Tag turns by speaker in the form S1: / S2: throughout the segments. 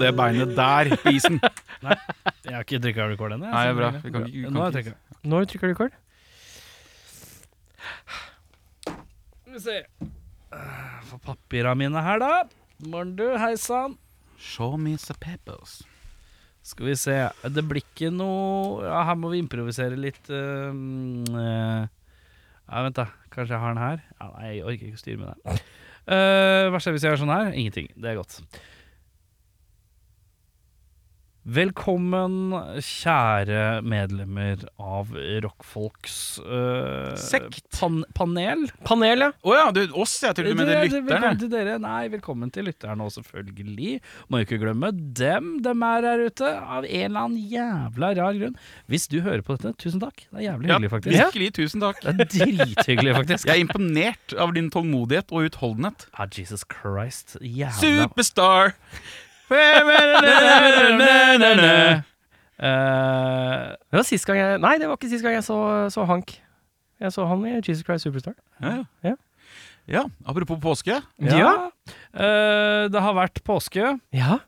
S1: det beinet der på isen.
S2: Jeg har ikke trykka record ennå. jeg,
S1: Nei,
S2: så-
S1: bra. Vi kan ikke- vi kan
S2: Nå har jeg
S1: ikke-
S2: trykket.
S3: Når trykker du record?
S2: Skal vi se. Eh, Få papira mine her, da. Morn, du. Hei sann.
S1: Show me some peppers.
S2: Skal vi se. Det blir ikke noe Ja, her må vi improvisere litt. eh, mm, eh. ja, vent, da. Kanskje jeg har den her? Ja, nei, jeg orker ikke å styre med den. Eh, hva skjer hvis jeg gjør sånn her? Ingenting. Det er godt. Velkommen, kjære medlemmer av Rockfolks eh,
S1: Sekt.
S2: Pan panel.
S3: Panel, ja.
S1: Å ja, du, oss, jeg trodde du mente
S2: Det- det- Velkommen
S1: lytterne.
S2: til dere. Nei, velkommen til lytterne òg, selvfølgelig. Må jo ikke glemme dem. Dem er her ute av en eller annen jævla rar grunn. Hvis du hører på dette, tusen takk. Det er jævlig
S1: Ja,
S2: hyggelig, faktisk.
S1: virkelig, tusen takk.
S2: Det er drithyggelig, faktisk.
S1: Jeg er imponert av din tålmodighet og utholdenhet.
S2: Ah, Jesus Christ. Jævla
S1: Superstar!
S2: Eh,
S3: Det var sist gang jeg Nei, det var ikke sist gang jeg så, så Hank. Jeg så han i Jesus Christ Superstar.
S1: Ja, ja.
S3: Ja.
S1: ja, apropos påske.
S2: ja. Eh, det har vært påske,
S3: Ja.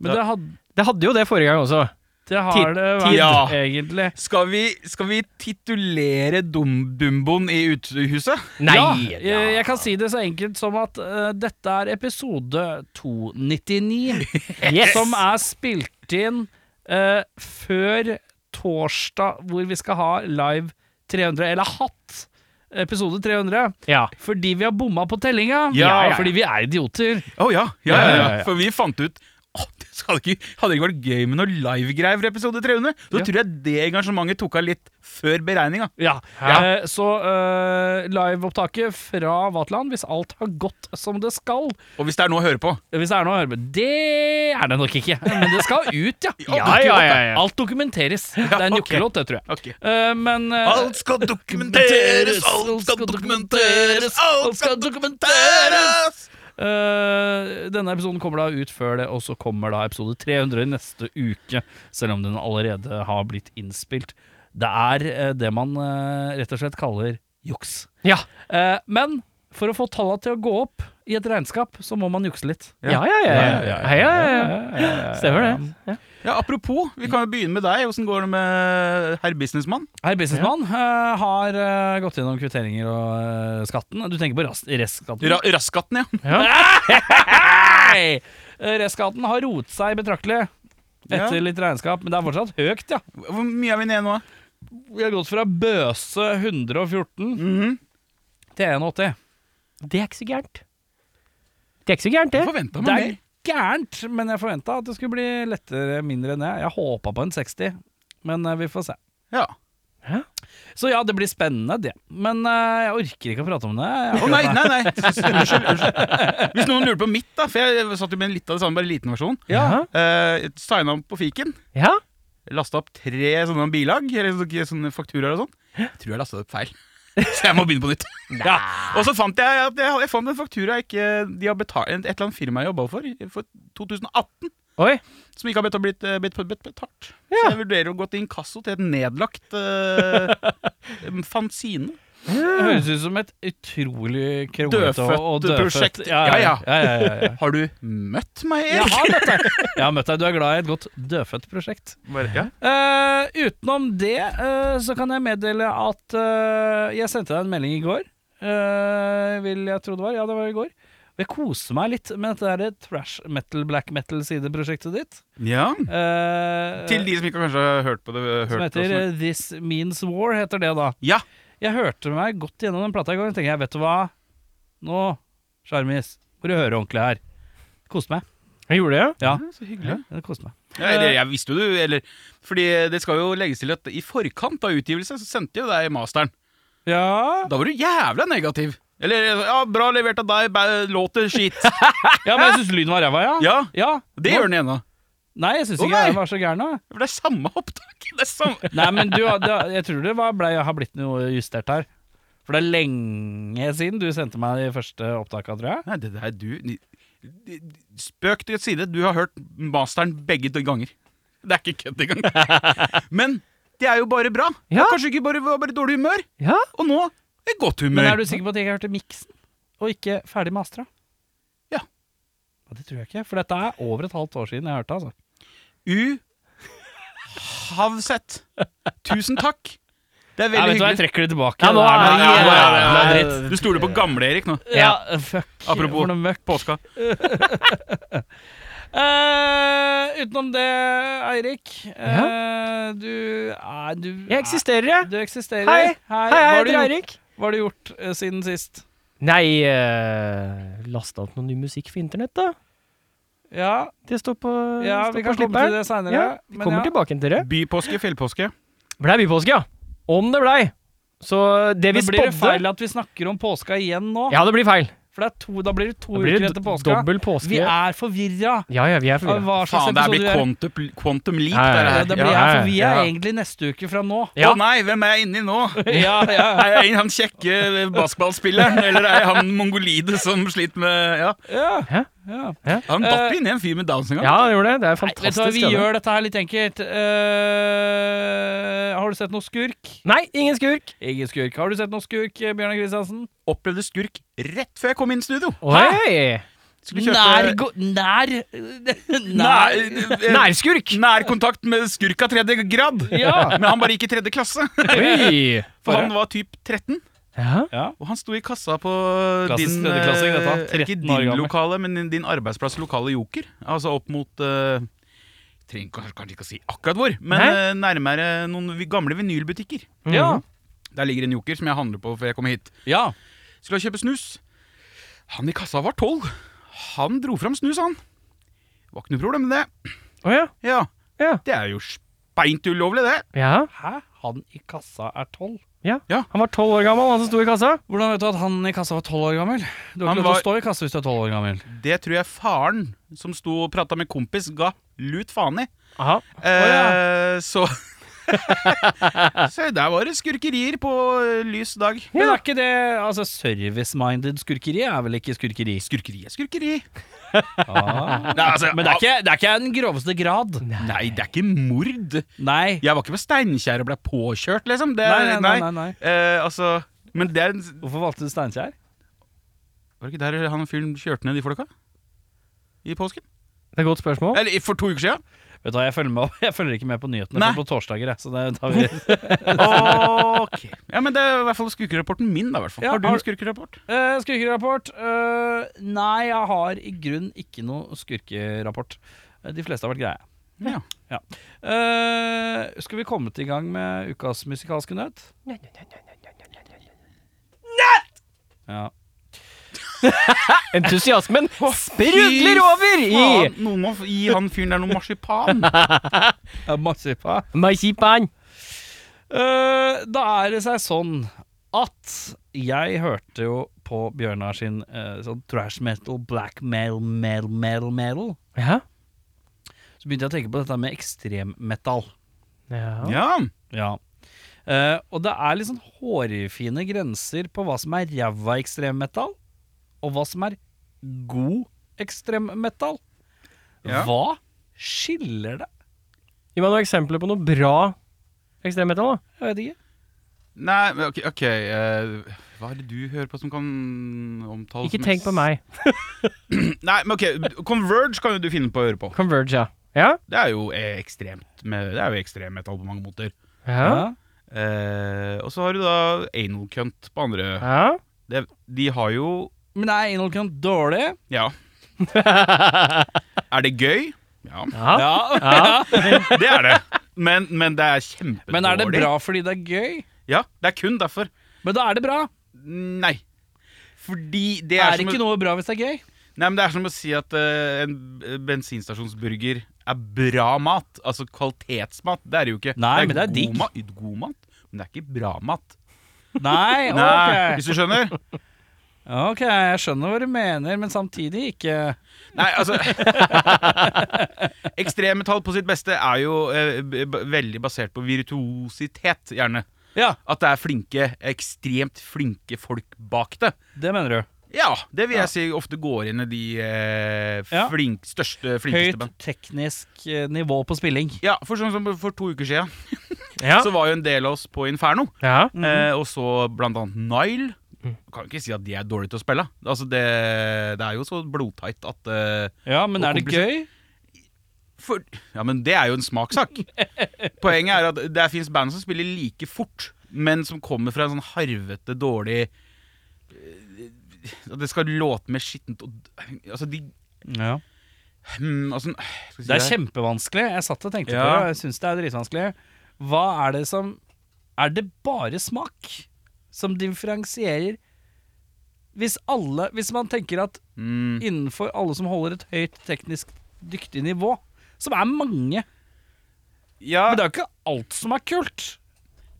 S2: men
S1: Ja.
S2: det, had,
S3: Det hadde jo det forrige gang også.
S2: det har
S3: Tid-
S2: det vært,
S1: tid. Ja.
S2: egentlig.
S1: Skal vi, skal vi titulere dum Dumboen i uthuset?
S2: ja, jeg, jeg kan si det så enkelt som at eh, dette er episode 299,
S3: Yes.
S2: som er spilt inn eh, før torsdag, hvor vi skal ha live 300, eller hatt episode 300,
S3: Ja.
S2: fordi vi har bomma på tellinga.
S1: Ja, ja, ja.
S2: Fordi vi er idioter.
S1: Å ja. Ja, ja,
S2: Ja,
S1: ja, For vi fant ut Åh, det skal ikke, hadde det ikke vært gøy med noe livegreier for episode 300. Så
S2: Ja.
S1: tror jeg det engasjementet tok av litt før beregninga.
S2: Ja.
S1: Ja.
S2: Eh, så eh, liveopptaket fra Vatland, hvis alt har gått som det skal,
S1: Og hvis det er noe å høre på.
S2: Hvis det er noe å høre med Det er det nok ikke, men det skal ut, ja.
S1: Ja, ja, ja, ja.
S2: Alt dokumenteres. Det er en
S1: ok.
S2: jukkelåt, det, tror jeg.
S1: Ok.
S2: Eh, men eh,
S1: Alt skal dokumenteres, alt skal dokumenteres, alt skal dokumenteres!
S2: eh, denne episoden kommer da ut før det, og så kommer da episode 300 neste uke. Selv om den allerede har blitt innspilt. Det er eh, det man eh, rett og slett kaller juks.
S3: Ja.
S2: Eh, men for å få tallene til å gå opp i et regnskap, så må man jukse litt.
S3: Ja, ja, ja.
S1: Ja, ja,
S3: ja, ja, ja. Stemmer det. Ja.
S1: Ja, Apropos, vi kan jo begynne med deg. Åssen går det med herr businessmann?
S2: Herr businessmann eh, har eh, gått gjennom kvitteringer og eh, skatten. Du tenker på ras- restskatten?
S1: Ra Raskatten, ja.
S2: Nei! Eh, restskatten har roet seg betraktelig
S1: Ja.
S2: etter litt regnskap, men det er fortsatt høyt, ja.
S1: Hvor mye er vi nede nå?
S2: Vi har gått fra bøse 114
S1: Mhm.
S2: til 81.
S3: Det er ikke så gærent. Det er ikke så gærent, det.
S1: Forventa
S2: Det
S1: man
S2: er
S1: mer.
S2: gærent, men jeg forventa at det skulle bli lettere mindre enn det. Jeg håpa på en 60, men eh, vi får se.
S1: Ja.
S2: Så ja, det blir spennende, det. Men eh, jeg orker ikke å prate om det. Jeg
S1: Å nei, nei, nei. Unnskyld. unnskyld. Hvis noen lurer på mitt, da, for jeg satt jo med litt av det samme, bare en liten versjon.
S3: Ja.
S1: Uh, Signa opp på fiken.
S3: Ja.
S1: Lasta opp tre sånne bilag, eller sånn, sånne- sånne fakturaer og sånn. Jeg tror jeg lasta det opp feil. Så jeg må begynne på nytt. Ja. Og så fant jeg at jeg, jeg fant en faktura jeg ikke, de har betalt, et eller annet firma jeg jobba for, for 2018,
S3: Oi.
S1: som ikke har bedt, blitt, eh, bedt, bedt betalt. Så jeg vurderer å gå til inkasso til et nedlagt eh, fanzine.
S2: Det høres ut som et utrolig kronglete
S1: Dødfødt
S2: og dødfødt
S1: prosjekt.
S2: Ja, ja, ja. ja, ja.
S1: Har du møtt meg,
S2: Jeg
S1: Erik?
S2: har møtt deg. Jeg har møtt deg. Du er glad i et godt dødfødt prosjekt.
S1: Bare, ja.
S2: Eh, utenom det eh, så kan jeg meddele at eh, jeg sendte deg en melding i går. eh, vil jeg tro det var. Ja, det var i går. Og jeg koser meg litt med dette der trash metal, black metal-sideprosjektet ditt.
S1: ja.
S2: Eh,
S1: Til de som ikke kanskje har hørt på det. Hørt
S2: som
S1: på
S2: heter
S1: det.
S2: eh, This Means War, heter det da.
S1: Ja.
S2: Jeg hørte meg godt gjennom den plata i går. og tenkte jeg, vet du hva? Nå, Sjarmis, får du høre ordentlig her. Koste meg.
S3: Jeg gjorde det, ja.
S2: Ja,
S1: Ja, Så hyggelig.
S2: det koste meg.
S1: Ja, eller jeg visste jo du eller, Fordi eh, det skal jo legges til at i forkant av utgivelse så sendte jo deg masteren.
S2: Ja,
S1: Da var du jævla negativ. Eller eh, ja, bra levert av deg, bæ- låter skitt.
S2: ja men jeg syns lyden var ræva, ja.
S1: Ja,
S2: ja.
S1: det gjør den ennå.
S2: Nei, jeg syns
S1: Å,
S2: ikke
S1: nei.
S2: det var så gæren, da.
S1: For det er samme opptak. Det er samme.
S2: Nei, men du, har- det har- jeg tror det var, ble, har blitt noe justert her. For det er lenge siden du sendte meg de første opptakene, tror jeg.
S1: Nei, det der du ni- ni- Spøk til side, du har hørt masteren begge de ganger. Det er ikke kødd engang. Men det er jo bare bra. Det
S3: Ja.
S1: er Kanskje ikke bare, var bare dårlig humør.
S3: Ja.
S1: Og nå i godt humør.
S2: Men er du sikker på at jeg ikke hørte miksen, og ikke ferdig mastra?
S1: Ja.
S2: Ja, Det tror jeg ikke, for dette er over et halvt år siden jeg hørte det. Altså.
S1: U. Havseth. Tusen takk. Det er
S2: Ja,
S1: veldig
S2: vet du hva, jeg
S1: hyggelig.
S2: trekker det tilbake.
S3: Ja, nå
S2: Det
S3: er
S2: noe
S3: det-
S2: jævla
S3: ja, ja, ja,
S2: dritt.
S1: Du stoler på gamle-Erik nå.
S2: Ja, fuck.
S1: Apropos.
S2: For noe møkk.
S1: Påska.
S2: Eh, utenom det, Eirik. eh, Du er du,
S3: Jeg eksisterer, jeg.
S2: er- Du eksisterer.
S3: Hei. Hei, hei,
S2: Hva
S3: jeg
S2: har du
S3: heter
S2: gjort-
S3: Eirik.
S2: Hva har du gjort eh, siden sist?
S3: Nei, uh, lasta opp noe ny musikk for internett, da.
S2: Ja,
S3: Det står på,
S2: ja
S3: Eh, står på
S2: vi kan komme til
S3: slipperen.
S2: det seinere.
S3: Ja, vi kommer
S2: ja.
S3: tilbake til det.
S1: Bypåske, fjellpåske.
S3: Blei bypåske, ja. Om det blei. Så eh, det vi
S2: Men blir det
S3: spådde
S2: feil at vi snakker om påska igjen nå?
S3: Ja, det blir feil.
S2: For det er to, da blir det to
S3: Det blir
S2: uker
S3: det do-
S2: etter påska.
S3: dobbel påske.
S2: Vi er forvirra
S3: Ja, ja, vi er
S2: av
S3: forvirra.
S2: hva slags
S1: Faen, det er
S2: episode
S1: blitt
S2: vi er.
S1: quantum, quantum leap,
S3: Ja, ja,
S1: det
S2: Ja,
S1: her.
S2: det
S3: Ja,
S2: blir
S3: ja,
S2: her, for vi er
S3: ja.
S2: egentlig neste uke fra nå.
S1: Å
S3: Ja.
S1: nei, hvem er jeg inni nå?
S2: Ja, ja,
S1: Er jeg han kjekke basketballspilleren, eller er jeg han mongolide som sliter med Ja,
S2: ja. ja.
S1: han datt jo inn i en fyr med downs en gang.
S3: Ja, det gjorde det. Det er
S2: Nei, vet du hva,
S3: fantastisk.
S2: vi
S3: ja, det.
S2: gjør dette her litt enkelt. Eh, har du sett noe skurk?
S3: Nei, ingen skurk.
S2: Ingen skurk. Har du sett noe skurk, eh, Bjørnar Kristiansen?
S1: Opplevde skurk rett før jeg kom inn i studio.
S3: Oi!
S1: Skulle kjøpe
S2: go- nær
S1: Nær-
S2: Nær
S1: eh,
S3: Nærskurk!
S1: Nærkontakt med skurk av tredje grad.
S2: Ja.
S1: Men han bare gikk i tredje klasse.
S3: Oi!
S1: For han var typ 13,
S3: Ja.
S2: ja.
S1: og han sto i kassa på
S2: Klassisk
S1: din
S2: tredjeklassing,
S1: eh,
S2: dette. 13
S1: Ikke
S2: år
S1: din
S2: gammel.
S1: lokale, men din- din arbeidsplass lokale joker. Altså opp mot eh, Trenger kanskje, kanskje ikke å si akkurat hvor, men
S3: Nei.
S1: eh, nærmere noen vi- gamle vinylbutikker.
S2: Ja.
S1: Der ligger en joker som jeg handler på før jeg kommer hit.
S2: Mhm. ja.
S1: Skulle kjøpe snus. Han i kassa var tolv. Han dro fram snus, han. Var ikke noe problem med det.
S3: Å ja.
S1: Ja,
S3: Ja.
S1: Det er jo speint ulovlig, det.
S3: ja.
S2: Hæ? Han i kassa er tolv?
S3: Han var tolv år gammel, han som sto i kassa.
S2: Hvordan vet du at han i kassa var tolv år gammel? Du har
S1: Han
S2: ikke lov til
S1: var-
S2: å stå i kassa hvis du er tolv år gammel.
S1: Det tror jeg faren, som sto og prata med kompis, ga lut faen i.
S3: Aha.
S1: Eh,
S2: Å,
S1: Så Så der var det skurkerier på eh, lys dag.
S2: Men er ikke det altså service-minded skurkeri? Er vel ikke skurkeri?
S1: Skurkeri er skurkeri.
S2: Ah.
S1: Nei, altså,
S2: Men det er, ikke, det er ikke den groveste grad.
S1: ah, nei, det er ikke mord.
S2: Nei.
S1: Jeg var ikke på Steinkjer og ble påkjørt, liksom. Det,
S2: Nei, nei, nei, nei, nei.
S1: Eh, altså, men det er en
S2: Hvorfor valgte du Steinkjer?
S1: Var det ikke der han fyren kjørte ned de folka? I påsken?
S3: Det er et godt spørsmål.
S1: Eller i- for to uker siden?
S2: Vet du hva, jeg følger, med, jeg følger ikke med på nyhetene
S1: Nei.
S2: for på torsdager, jeg, så det tar vi
S1: ok. Ja, men det er i hvert fall skurkerapporten min, da. i hvert fall
S2: Ja,
S1: Har du
S2: har-
S1: en skurkerapport?
S2: Eh, Skurkerapport? Eh, nei, jeg har i grunn ikke noe skurkerapport. Eh, De fleste har vært greie.
S1: Ja.
S2: Eh, skal vi komme til i gang med ukas musikalske nøtt? Ja.
S3: Entusiasmen sprudler over i
S1: Faen, noen må f- gi han fyren der noe marsipan.
S2: Eh, Marsipan.
S3: Marsipan.
S2: Eh, da er det seg sånn at jeg hørte jo på Bjørnar sin eh, sånn trash metal, black metal, metal, metal, metal.
S3: Ja.
S2: Så begynte jeg å tenke på dette med ekstremmetall.
S3: ja.
S1: ja.
S2: Ja. Eh, og det er litt sånn hårfine grenser på hva som er ræva ekstremmetall, og hva som er god ekstremmetall.
S1: Ja.
S2: Hva skiller det?
S3: Gi meg noen eksempler på noe bra ekstremmetall, da.
S2: Jeg vet ikke.
S1: Nei, men ok, ok, eh, Hva er det du hører på som kan omtales
S3: Ikke
S1: som
S3: tenk på meg.
S1: Nei, men ok, Converge kan jo du finne på å høre på.
S3: Converge, ja. Ja.
S1: Det er jo eh, ekstremt med, Det er jo ekstremmetall på mange måter.
S3: ja.
S1: Eh, og så har du da Anal Cunt på andre.
S3: ja.
S1: Det, de har jo
S2: Men er anal cunt dårlig?
S1: Ja. er det gøy? Ja,
S3: ja.
S2: Ja.
S1: det er det. Men, men det er kjempedårlig.
S2: Men er det bra fordi det er gøy?
S1: Ja, det er kun derfor.
S2: Men da er det bra.
S1: Nei. Fordi det
S2: er
S1: er,
S2: det
S1: som
S2: ikke
S1: å-
S2: noe bra hvis det er gøy?
S1: Nei, men Det er som å si at eh, en bensinstasjonsburger er bra mat. Altså kvalitetsmat. Det er det jo ikke.
S2: Nei, men det er
S1: god
S2: digg.
S1: mat- god mat, men det er ikke bra mat.
S2: Nei,
S1: Nei,
S2: ok.
S1: Hvis du skjønner?
S2: Ok, jeg skjønner hva du mener, men samtidig ikke.
S1: Nei, altså Ekstremmetall på sitt beste er jo eh, b- b- veldig basert på virtuositet, gjerne.
S2: Ja,
S1: At det er flinke, ekstremt flinke folk bak det.
S2: det mener du.
S1: Ja, det vil
S2: Ja.
S1: jeg si ofte går inn i de eh,
S2: Ja.
S1: flink, største, flinkeste
S2: Høyt
S1: band.
S2: teknisk eh, nivå på spilling.
S1: Ja, for sånn som for to uker siden,
S3: Ja.
S2: Mhm.
S1: så var jo en del av oss på Inferno.
S3: ja.
S1: Eh, og så blant annet Nile.
S2: Mm.
S1: Du kan jo ikke si at de er dårlige til å spille. Altså det, det er jo så blodtight at eh,
S2: Ja, men
S1: Og
S2: er det
S1: komplisert.
S2: gøy?
S1: for, Ja, men det er jo en smakssak. Poenget er at det fins band som spiller like fort, men som kommer fra en sånn harvete, dårlig eh, Det skal låte mer skittent og Altså, de
S2: Ja.
S1: hmm, altså, skal jeg si
S2: Det er kjempevanskelig. Jeg satt og tenkte
S1: Ja.
S2: på det, og jeg syns det er dritvanskelig. Hva er det som Er det bare smak som differensierer? Hvis alle Hvis man tenker at
S1: Mm.
S2: innenfor alle som holder et høyt teknisk dyktig nivå, som er mange
S1: Ja,
S2: Men det er jo ikke alt som er kult.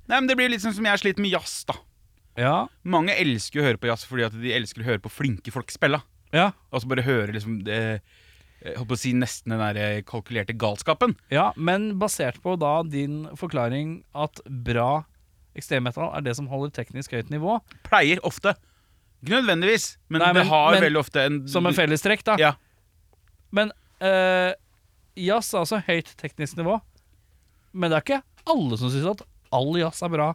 S1: nei, men det blir litt sånn som jeg sliter med jazz, da.
S2: Ja.
S1: Mange elsker å høre på jazz fordi at de elsker å høre på flinke folk spille.
S2: Ja.
S1: Altså bare høre liksom det, Jeg holdt på å si nesten den der eh, kalkulerte galskapen.
S2: Ja, men basert på da din forklaring at bra ekstremmetall er det som holder teknisk høyt nivå,
S1: Pleier ofte. Ikke nødvendigvis, men,
S2: Nei, men-
S1: det har
S2: men-
S1: veldig ofte en
S2: som en fellestrekk, da.
S1: Ja.
S2: Men eh, jazz er altså høyt teknisk nivå, men det er ikke alle som syns at all jazz er bra.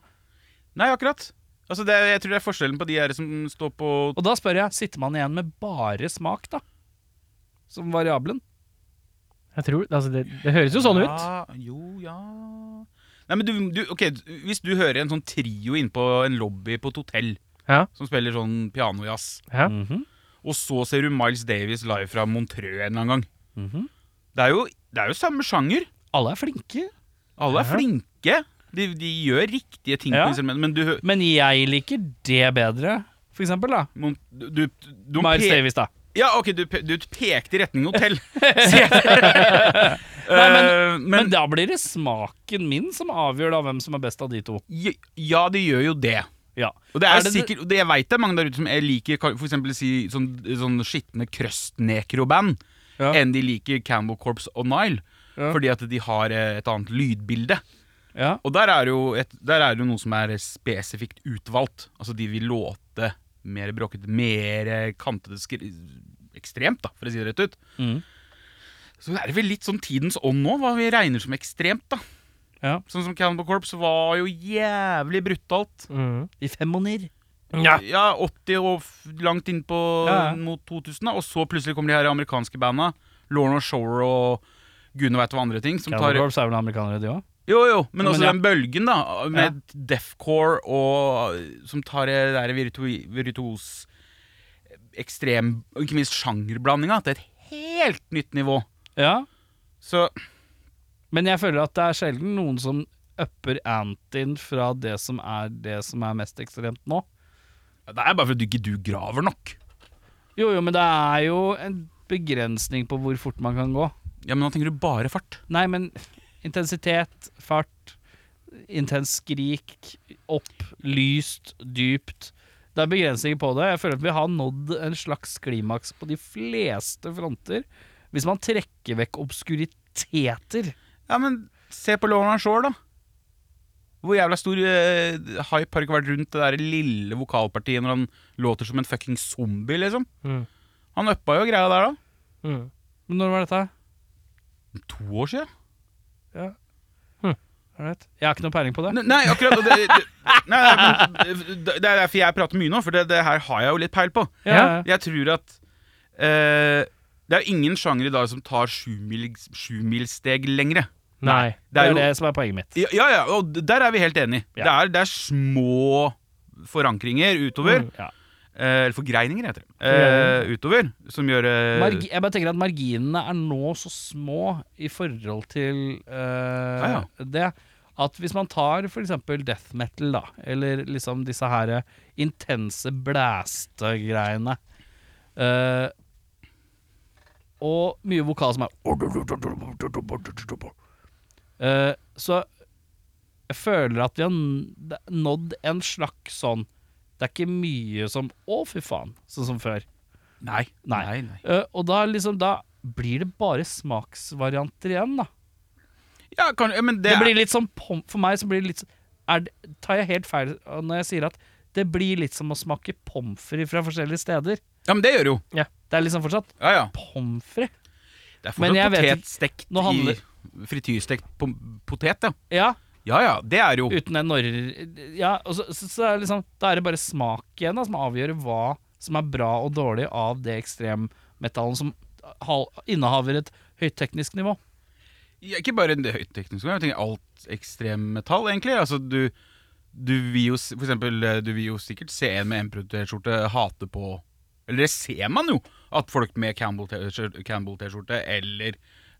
S1: Nei, akkurat. Altså det, jeg tror det er forskjellen på de her som står på
S2: Og da spør jeg, sitter man igjen med bare smak, da? Som variabelen?
S3: Jeg tror, altså det, det høres jo sånn ut.
S1: Ja, jo, ja Nei, men du, du, ok, Hvis du hører en sånn trio inne på en lobby på et hotell
S3: Ja.
S1: som spiller sånn pianojazz,
S3: Ja.
S2: Mhm,
S1: og så ser du Miles Davis live fra Montreux en eller annen gang
S2: mhm.
S1: Det er jo, det er jo samme sjanger.
S2: Alle er flinke,
S1: Alle er
S3: Ja.
S1: flinke. De, de gjør riktige ting,
S2: Ja.
S1: på instrumentene, men du, hø-
S2: men jeg liker det bedre, for eksempel, da.
S1: Mon- du, du, du
S2: Miles
S1: pe-
S2: Davis, da.
S1: Ja, ok, du, pe- du pekte i retning hotell.
S2: Nei, men
S1: Eh,
S2: Men,
S1: men
S2: da blir det smaken min som avgjør da hvem som er best av de to.
S1: j- ja, de gjør jo det.
S2: Ja.
S1: Og det er,
S2: Er det det-
S1: sikkert, og det, Jeg veit det er mange der ute som jeg liker kan- for eksempel si sånn, sånn skitne krøst-nekroband
S2: Ja.
S1: enn de liker Campbell Corps og Nile.
S2: Ja.
S1: Fordi at de har eh, et annet lydbilde.
S2: Ja.
S1: Og der er, jo et, der er jo noe som er spesifikt utvalgt. Altså de vil låte mer bråkete, mer kantete skri- Ekstremt, da, for å si det rett ut.
S2: Mm.
S1: Så det er vel litt sånn tidens ånd nå, hva vi regner som ekstremt, da.
S2: Ja.
S1: Sånn som Cannibal Corpse var jo jævlig brutalt.
S3: Mm.
S2: I femmoner.
S3: Ja.
S1: 80 og f- langt inn på
S2: Ja, ja.
S1: mot 2000, da. Og så plutselig kommer de her amerikanske banda. Lorna Shore og gudene veit hva andre ting. Som tar,
S2: Cannibal Corpse er vel amerikanere, de òg?
S1: jo, jo, men,
S2: Men
S1: også
S2: ja.
S1: den bølgen, da. Med deathcore og Som tar det der virtu- virtuos Ekstrem og Ikke minst sjangerblandinga til et helt nytt nivå.
S2: Ja.
S1: Så
S2: Men jeg føler at det er sjelden noen som upper antien fra det som er det som er mest ekstremt nå.
S1: det er bare fordi du ikke du graver nok.
S2: Jo, jo, men det er jo en begrensning på hvor fort man kan gå.
S1: Ja, men nå tenker du bare fart.
S2: Nei, men intensitet, fart, intens skrik, opp, lyst, dypt. Det er begrensninger på det. Jeg føler at vi har nådd en slags klimaks på de fleste fronter. Hvis man trekker vekk obskuriteter.
S1: Ja, men se på Lorna Shore, da. Hvor jævla stor eh, hype har det ikke vært rundt det der lille vokalpartiet når han låter som en fucking zombie, liksom?
S3: Mm.
S1: Han uppa jo greia der, da.
S3: Mm.
S2: Men når var dette?
S1: To år siden?
S2: Jeg vet. Jeg har ikke noe peiling på det.
S1: Ne- Nei, akkurat. og Det, det, nei, nei, men det er derfor jeg prater mye nå, for det, det her har jeg jo litt peil på.
S2: Ja, ja, ja.
S1: Jeg tror at eh, det er jo ingen sjanger i dag som tar sjumils- sjumilssteg lengre.
S3: Nei.
S2: Det er jo det som er poenget mitt.
S1: Ja, ja, ja, og d- der er vi helt enige.
S2: Ja.
S1: Det, er, det er små forankringer utover.
S2: Ja.
S1: eh, Eller forgreininger, heter det.
S3: Forgreininger.
S1: Eh, utover. Som gjør eh,
S2: Margi, jeg bare tenker at marginene er nå så små i forhold til eh,
S1: Ja,
S2: det at hvis man tar for eksempel death metal, da, eller liksom disse her eh, intense blæste-greiene eh, Og mye vokal som er Eh, Så jeg føler at vi har n- nådd en slags sånn Det er ikke mye som Å, fy faen, sånn som før.
S1: Nei.
S2: Nei.
S1: nei.
S2: Eh, og da, liksom, da blir det bare smaksvarianter igjen, da.
S1: Ja, kan, ja, men det,
S2: Det, blir litt sånn pom For meg så blir det litt sånn- er, det- Tar jeg helt feil eh, når jeg sier at det blir litt som å smake pommes frites fra forskjellige steder?
S1: er, ja, men det gjør det jo.
S2: Det er liksom fortsatt
S1: Ja, ja.
S2: pommes frites.
S1: Det er
S2: Men
S1: fortsatt
S2: jeg vet ikke-
S1: potetstekt
S2: Nå handler-
S1: i Frityrstekt pom- potet, ja.
S2: Ja,
S1: Ja ja, det er jo
S2: Uten en norr... Ja, og så, så, så er det liksom, da er det bare smak igjen da, som avgjør hva som er bra og dårlig av det ekstremmetallen som hal- innehaver et høyteknisk nivå.
S1: Ja, Ikke bare det høytekniske, men jeg tenker alt ekstremmetall, egentlig. Altså, du, du vil jo s- for eksempel, eh, du vil jo sikkert se en med M-produktert-skjorte hate på Eller det ser man jo! At folk med Campbell-T-skjorte Campbell-T-skjorte eller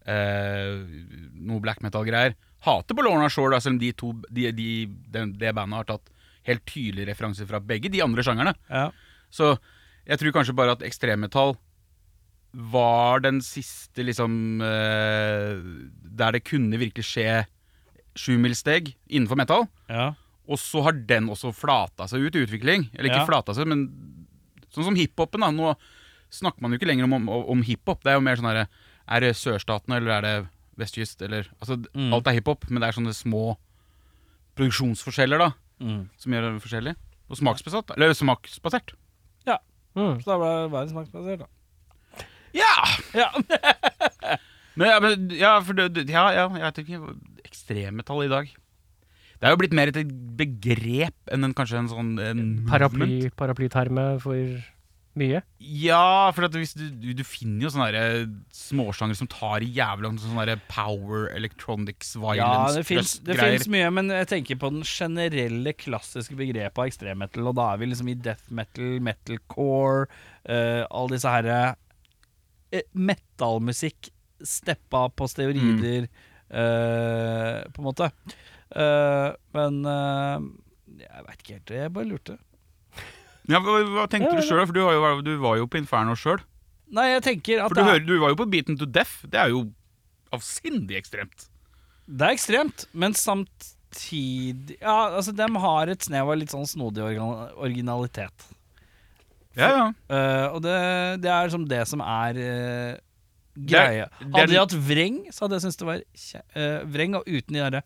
S1: eh, noe black metal-greier hater på Lorna Shore, da, selv om de to, de, de, den- det bandet har tatt helt tydelige referanser fra begge de andre sjangerne.
S2: Ja.
S1: Så jeg tror kanskje bare at ekstremmetall var den siste liksom eh, Der det kunne virkelig skje sjumilssteg innenfor metal.
S2: ja.
S1: Og så har den også flata seg ut i utvikling. Eller ikke
S2: Ja.
S1: flata seg, men sånn som hiphopen. da, Nå snakker man jo ikke lenger om, om, om hiphop. Det er jo mer sånn herre Er det sørstatene, eller er det vestkyst, eller Altså,
S2: Mm.
S1: alt er hiphop, men det er sånne små produksjonsforskjeller, da,
S2: Mm.
S1: som gjør det forskjellig. Og smaksbasert. Eller smaksbasert.
S3: Mm.
S2: Så da ble det verdensmarkedsbasert, da.
S1: Ja!
S2: Ja.
S1: Men, ja, men, ja, for det, det- ja, ja, jeg vet ikke Ekstremmetall i dag Det er jo blitt mer et begrep Enn en, kanskje en sånn en movement.
S3: Paraply, paraplyterme for mye.
S1: Ja, for at hvis du, du, du finner jo sånne der småsjanger Som tar i jævla langt, Sånne der eh, power, electronics,
S2: Ja,
S1: violence
S2: det fins det
S1: greier.
S2: finnes mye, men jeg tenker på den generelle klassiske begrepet av ekstremmetal, og da er vi liksom i death metal, metalcore, eh, alle disse herre eh, metallmusikk steppa på steorider, eh, på en måte. Eh, men eh, jeg veit ikke helt, jeg bare lurte.
S1: ja, hva, hva tenkte
S3: Ja,
S1: du selv? For du var, jo, du var jo på Inferno selv
S2: Nei, jeg tenker at
S1: For du,
S2: det er,
S1: hører, du var jo på Beaten to Death Det er jo avsindig ekstremt
S2: det er ekstremt, men samtidig Ja, altså, dem har et snev av litt sånn snodig organ- originalitet.
S1: Ja, ja
S2: Eh, og det, det er liksom det som er eh,
S1: Det er-
S2: greia.
S1: det er-
S2: Hadde de hatt vreng, så hadde jeg syntes det var kje, eh, vreng, og uten de derre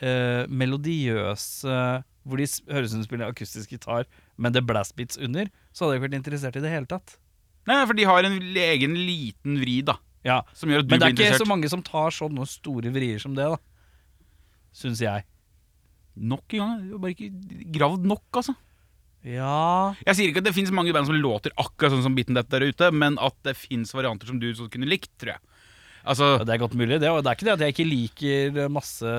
S2: eh, melodiøse Hvor de s- høres ut som de spiller akustisk gitar, men det er blast beats under, så hadde jeg ikke vært interessert i det hele tatt.
S1: Nei, for de har en egen liten vri da
S2: Ja,
S1: Som gjør at du
S2: Men
S1: blir
S2: det er ikke
S1: interessert
S2: så mange som tar sånne store vrier som det, da. Syns jeg.
S1: Nok en gang, det var bare ikke gravd nok, altså.
S2: Ja
S1: Jeg sier ikke at det fins mange band som låter akkurat sånn som Bitten Death der ute, men at det fins varianter som du så kunne likt, tror jeg. Altså,
S2: Ja, Det er godt mulig, det. Og det er ikke det at jeg ikke liker masse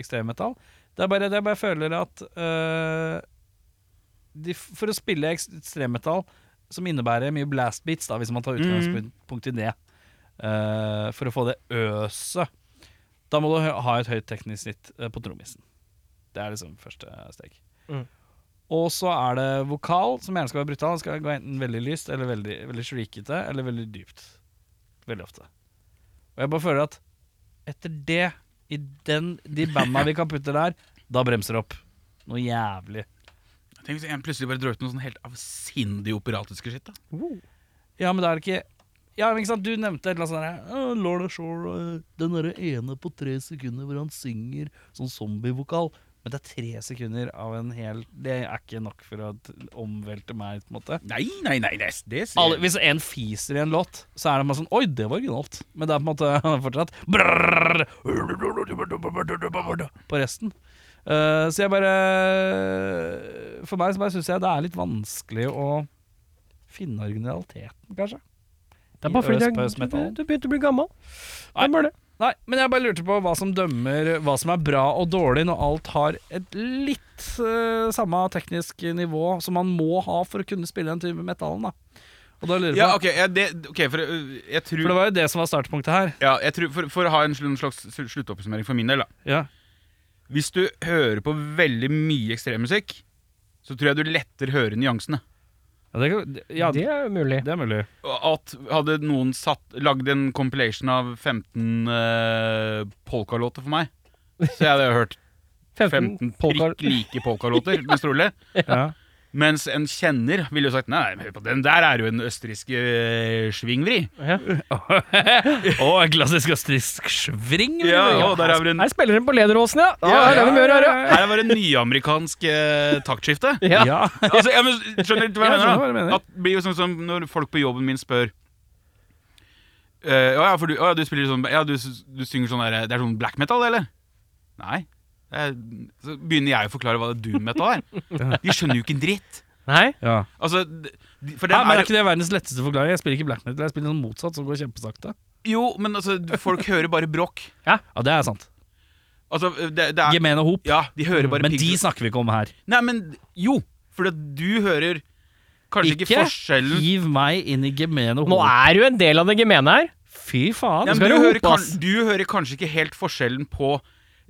S2: ekstremmetall. Det er bare det jeg bare føler at øh, de, For å spille ekst- ekstremmetall, som innebærer mye blast beats, da, hvis man tar utgangspunkt i det, øh, for å få det øset, da må du hø- ha et høyt teknisk snitt øh, på trommisen. Det er liksom første steg.
S3: Mm.
S2: Og så er det vokal, som gjerne skal være brutal. Den skal gå enten veldig lyst, eller veldig, veldig shriekete, eller veldig dypt. Veldig ofte. Og jeg bare føler at etter det, i den, de banda vi kan putte der, da bremser det opp. Noe jævlig.
S1: Tenk hvis en plutselig bare drar ut noe sånn helt avsindig operatiske skitt. da
S2: Ja, men da er det ikke Ja, men ikke sant, du nevnte et eller annet sånt der, «Å, Lorna Shore, øh, den derre ene på tre sekunder hvor han synger sånn zombievokal. Men det er tre sekunder av en hel Det er ikke nok for å t- omvelte meg, på en måte.
S1: Nei, nei, nei, det, det ser
S2: Alle, hvis en fiser i en låt, så er det bare sånn Oi, det var originalt. Men det er på en måte fortsatt brrrr, På resten. Eh, så jeg bare For meg så bare syns jeg det er litt vanskelig å finne originaliteten, kanskje.
S3: Det er
S2: I
S3: bare fordi
S2: øs
S3: det er-
S2: på øs
S3: du,
S2: metal.
S3: du begynte å bli gammel.
S2: Nei.
S3: Det var det.
S2: Nei, men jeg bare lurte på hva som dømmer hva som er bra og dårlig når alt har et litt eh, samme teknisk nivå som man må ha for å kunne spille den type metallen, da. Og da lurer jeg på
S1: Ja, ok, ja, det, ok, for øh, jeg tror,
S2: For det var jo det som var startpunktet her.
S1: ja, jeg tror for, for å ha en sl- en slags sl- sluttoppsummering for min del, da.
S2: Ja.
S1: Hvis du hører på veldig mye ekstremmusikk, så tror jeg du lettere hører nyansene.
S2: Ja, det, kan, ja,
S3: det
S2: det,
S3: er jo mulig.
S2: er mulig.
S1: at hadde noen satt, lagd en compilation av 15 uh, polkalåter for meg, så jeg hadde hørt 15
S3: polka-
S1: prikk like polkalåter, mest rolig.
S2: Ja.
S1: Mens en kjenner ville jo sagt nei, men hør på den der er jo en østerriksk eh, svingvri.
S3: Ja.
S2: og en klassisk østerriksk svring. vil
S1: Ja,
S2: du
S1: og der er vel en
S3: Her spiller den på Lederåsen, ja!
S1: Ja,
S3: Ah, her er det mye å gjøre.
S1: Her var det nyamerikansk eh, taktskifte.
S2: si.
S3: Ja.
S2: ja.
S1: Altså, jeg, men, skjønner du hva jeg
S2: Ja, skjønner hva
S1: mener?
S2: du
S1: da?
S2: mener.
S1: At det blir jo sånn som når folk på jobben min spør eh, Å ja, for du, å ja, du spiller sånn Ja, du, s- du synger sånn der Det er sånn black metal, eller? Nei. Eh, Så begynner jeg å forklare hva det doom metal er. De skjønner jo ikke en dritt.
S3: Nei?
S2: Ja.
S1: Altså, d- for
S2: Nei,
S1: dem
S2: men
S1: er,
S2: er ikke det verdens letteste forklaring? Jeg spiller ikke black metal, jeg spiller noe motsatt som går kjempesakte.
S1: jo, men altså, folk hører bare bråk.
S2: Ja, det er sant.
S1: Altså, det, det er,
S2: Gemene hop.
S1: ja, de hører bare
S2: Men de
S1: pigg-
S2: snakker vi ikke om her.
S1: Nei, men jo, for at du hører kanskje ikke,
S2: Ikke
S1: forskjellen
S2: Hiv meg inn i gemene hop.
S3: Nå er du en del av det gemene her.
S2: Fy faen.
S1: ja, men du,
S3: skal du
S1: hører
S3: hoppe,
S1: kan,
S3: ass.
S1: du hører kanskje ikke helt forskjellen på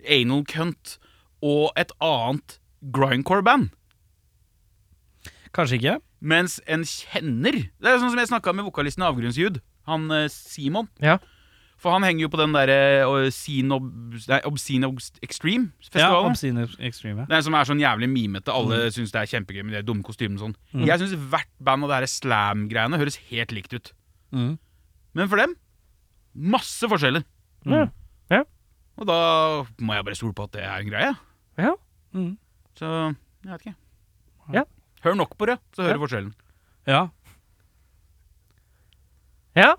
S1: anal cunt og et annet grindcore-band.
S2: Kanskje ikke.
S1: Mens en kjenner Det er sånn som jeg snakka med vokalisten i Avgrunnsjud, han eh, Simon.
S3: Ja.
S1: For han henger jo på den derre uh, Obscene Obst-
S2: Ja,
S1: Extreme-festivalen.
S2: Obscene Extreme. ja.
S1: den som er sånn jævlig mimete.
S3: Mm.
S1: Alle syns det er kjempegøy med de dumme kostymene og sånn. Jeg syns hvert band av det her slam-greiene høres helt likt ut.
S2: Mm.
S1: Men for dem masse forskjeller.
S3: Ja. Mm. Ja.
S1: Og da må jeg bare stole på at det er en greie.
S3: Ja.
S2: Mm.
S1: Så jeg vet ikke.
S3: Ja.
S1: Hør nok på det, så hører
S3: Ja.
S1: du forskjellen.
S2: Ja.
S3: ja.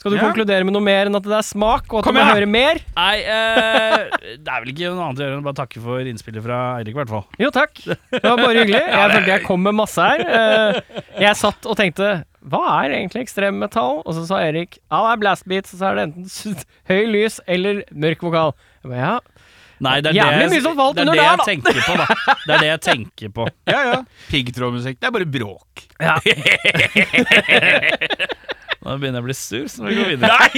S3: Skal du
S1: Ja.
S3: konkludere med noe mer enn at det er smak, og at
S1: Kom
S3: du må
S1: igjen!
S3: høre mer?
S2: Nei, eh, det er vel ikke noe annet å gjøre enn å bare takke for innspillet fra Eirik, i hvert fall.
S3: Jo, takk. Det var bare hyggelig. Jeg følte jeg kom med masse her. Eh, Jeg satt og tenkte hva er egentlig ekstremmetall? Og så sa Erik ja, det er blastbeat, så er det enten s- høy lys eller mørk vokal. Jeg ba, ja,
S2: Nei, det er
S3: Jævlig
S2: det, jeg-
S3: mye som falt
S2: det, er
S3: under
S2: det jeg
S3: der, da.
S2: tenker på, da. Det er det jeg tenker på.
S1: Ja, ja. Piggtrådmusikk. Det er bare bråk.
S2: Nå begynner jeg å bli sur, så må vi gå videre. Nei!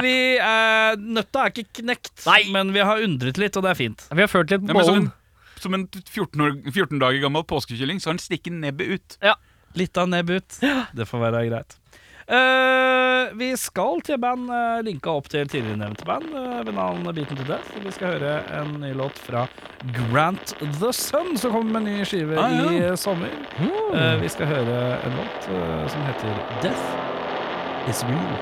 S2: vi er, nøtta er ikke knekt, men vi har undret litt, og det er fint.
S3: Vi har ført litt
S1: Ja, men som
S3: bollen.
S1: en, som en 14, år, 14 dager gammel påskekylling, så har den stikket nebbet ut.
S2: Litt av nebb ut. Det får være greit. Eh, vi skal til band eh, linka opp til tidligere nevnte band eh, ved navn Beaten to Death. Vi skal høre en ny låt fra Grant The Sun, som kommer med en ny skive
S1: Ah, ja.
S2: i eh, sommer.
S3: Hmm.
S2: Eh, vi skal høre en låt eh, som heter Death Is Real.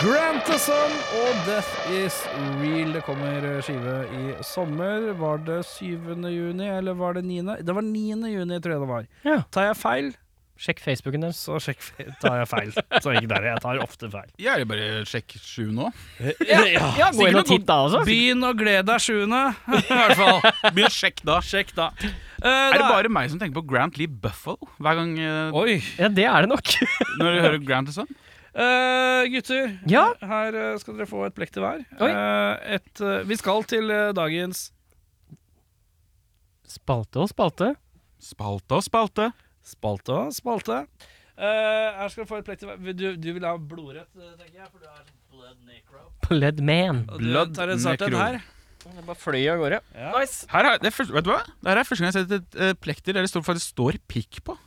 S2: Grantison og Death Is Real. Det kommer eh, skive i sommer. Var det 7. juni, eller var det 9.? Det var 9. juni, tror jeg det var.
S3: Ja.
S2: Tar jeg feil,
S3: Sjekk Facebooken deres.
S2: så sjekk fe- Tar jeg feil, så ikke der. Jeg tar ofte feil.
S1: Jeg er bare sjekk sju nå.
S3: Ja, gå inn og titt da også.
S2: Begynn å glede deg 7. i hvert fall.
S1: Begynn å sjekke da.
S2: Sjekk, Eh, da.
S1: Er det bare meg som tenker på Grant Lee Buffalo hver gang eh,
S2: Oi.
S3: Ja, det er det nok.
S1: når du hører Grant og sånn?
S2: Eh, gutter,
S3: Ja.
S2: her eh, skal dere få et plekk til hver.
S3: Oi.
S2: Eh, et, eh, vi skal til eh, dagens
S3: Spalte og spalte.
S1: Spalte og spalte.
S2: spalte og spalte. Eh, her skal dere få et plekk til hver. Du, du vil ha blodrett, eh, tenker jeg, for du er blood necro.
S3: Blood man.
S2: Og
S1: Blood
S2: du tar en svart en
S1: necro.
S2: her.
S3: Det bare fløy av gårde.
S2: Ja.
S3: Nice.
S1: Her er, det er første, vet du hva? Det her er første gang jeg har sett et eh, plekter der det står, faktisk står pikk på.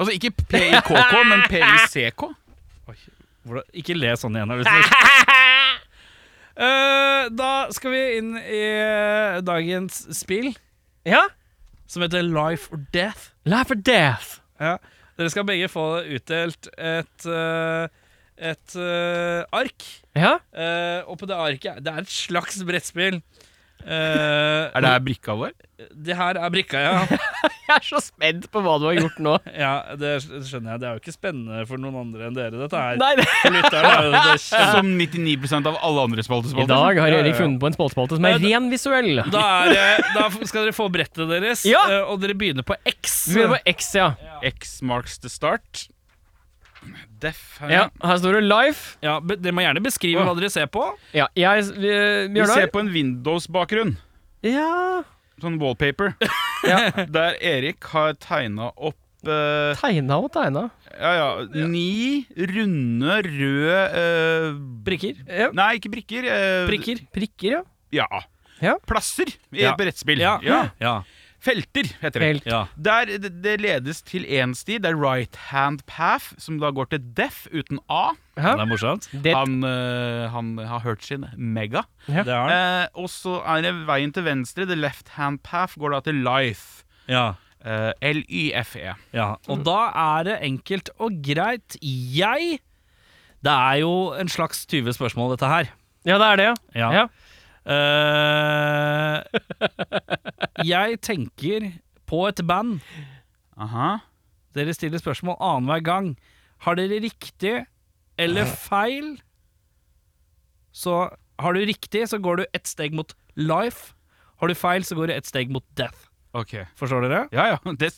S1: Altså ikke PIKK, men PICK.
S2: Hvordan- Ikke le sånn igjen, er du snill. Eh, da skal vi inn i eh, dagens spill,
S3: Ja.
S2: som heter Life or Death.
S3: Life or death.
S2: Ja. Dere skal begge få utdelt et, eh, et eh, ark.
S3: Ja.
S2: Eh, og på det arket Det er et slags brettspill. Eh,
S1: Er det her brikka vår?
S2: det her er brikka, ja.
S3: Jeg er så spent på hva du har gjort nå.
S2: ja. Det skjønner jeg. Det er jo ikke spennende for noen andre enn dere, dette her.
S3: Nei, det.
S2: For lytterne er jo det kjempe-
S1: Som 99 av alle andre spaltespalter.
S3: I dag har
S2: Ja, ja,
S3: Erik
S2: ja.
S3: funnet på en spaltespalte som
S2: Ja,
S3: er
S2: det-
S3: ren visuell.
S2: da, er, det- da skal dere få brettet deres,
S3: Ja.
S2: eh, og dere begynner på X.
S3: Vi begynner på X, ja.
S1: X marks the start. Deff her.
S3: ja. Her står det Life.
S2: Ja, be- Dere må gjerne beskrive hva dere ser på.
S3: Ja, jeg vi-
S1: Vi ser
S3: Bjørnar.
S1: på en Windows-bakgrunn.
S3: Ja.
S1: Sånn wallpaper. Der Erik har tegna opp eh,
S3: Tegna og tegna.
S1: ja, ja, ni runde, røde eh,
S2: Brikker.
S3: Ja.
S1: Nei, ikke brikker. eh,
S2: Prikker.
S3: Prikker, ja.
S1: Ja.
S3: Ja.
S1: Plasser i
S2: Ja.
S1: et brettspill.
S2: Ja.
S1: Ja.
S2: Ja.
S1: Felter, heter det.
S3: Helt.
S2: ja.
S1: Der, det, det ledes til én sti. Det er right hand path, som da går til deaf uten A.
S2: Det er morsomt.
S3: Det,
S1: Han, eh, han har hørt sin mega.
S2: Det er den.
S1: Eh, og så er det veien til venstre. The left hand path går da til life.
S2: Ja.
S1: Eh, L-Y-F-E.
S2: Ja, og da er det enkelt og greit. Jeg Det er jo en slags 20 spørsmål, dette her.
S3: ja, det er det, ja.
S2: Ja.
S3: ja.
S2: Eh, jeg tenker på et band.
S1: Aha.
S2: Dere stiller spørsmål annenhver gang. Har dere riktig eller feil, så Har du riktig, så går du ett steg mot life. Har du feil, så går du ett steg mot death.
S1: Ok.
S2: Forstår dere?
S1: Ja, ja. Det,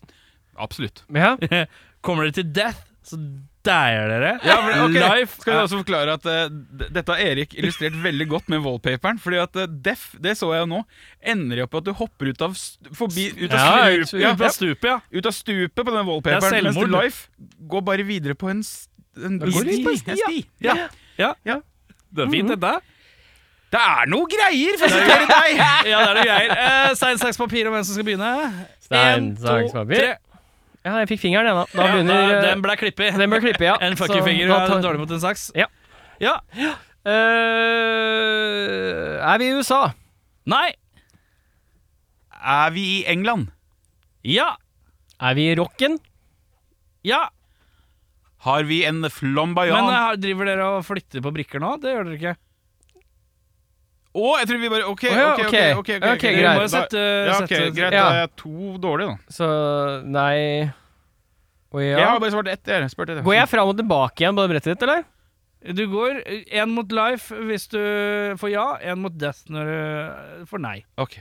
S1: absolutt.
S3: ja.
S2: Kommer dere til death, så dæjer dere.
S1: Ja, men, ok.
S2: Life
S1: Skal jeg også forklare at eh, d- Dette har Erik illustrert veldig godt med wallpaperen. Fordi at eh, deaf, det så jeg nå, ender jo på at du hopper ut av, st- forbi, ut av
S2: Ja,
S1: slup-
S2: ut ut av stupet, ja.
S1: ut av stupet på den
S2: Det er
S1: wallpaperen, mens
S2: selvmord.
S1: Life går bare videre på en, s- en
S3: går det på en sti,
S1: en
S3: ja.
S1: Ja.
S2: Det er
S1: Mhm.
S2: fint, dette.
S1: Det er noe greier, for å sitere deg!
S2: Ja, det er noe greier. Eh, stein, saks, papir om hvem som skal begynne.
S3: Stein,
S2: En, to,
S3: saks, papir.
S2: tre.
S3: ja, jeg fikk fingeren, jeg, da. Da
S2: Ja,
S3: begynner
S2: da-
S3: eh,
S2: Den ble klippet.
S3: Den bør klippe, ja.
S2: En
S3: Så
S2: fuckingfinger
S3: da
S2: er
S3: tar-
S2: dårlig mot en saks.
S3: Ja.
S2: Ja.
S3: Eh, er vi i USA?
S2: Nei.
S1: Er vi i England?
S2: Ja.
S3: Er vi i rocken?
S2: Ja.
S1: Har vi en flambayan?
S2: Men eh, driver dere og flytter på brikker nå? Det gjør dere ikke.
S1: Å, jeg tror vi bare OK,
S3: Å, ja,
S1: OK, OK.
S3: ok.
S1: ok, ok,
S3: Ok,
S1: ok.
S2: Dere må jo
S3: greit.
S1: Da-
S2: sette,
S1: eh, Ja, ok,
S2: sette
S1: Greit,
S3: ja.
S1: da er jeg to dårlige, da.
S3: Så nei Og ja.
S1: Jeg har bare svart ett. Jeg har spurt ett.
S3: Går jeg fram og tilbake igjen på det brettet ditt, eller?
S2: Du går én mot life hvis du får ja, én mot death når du får nei.
S1: Ok,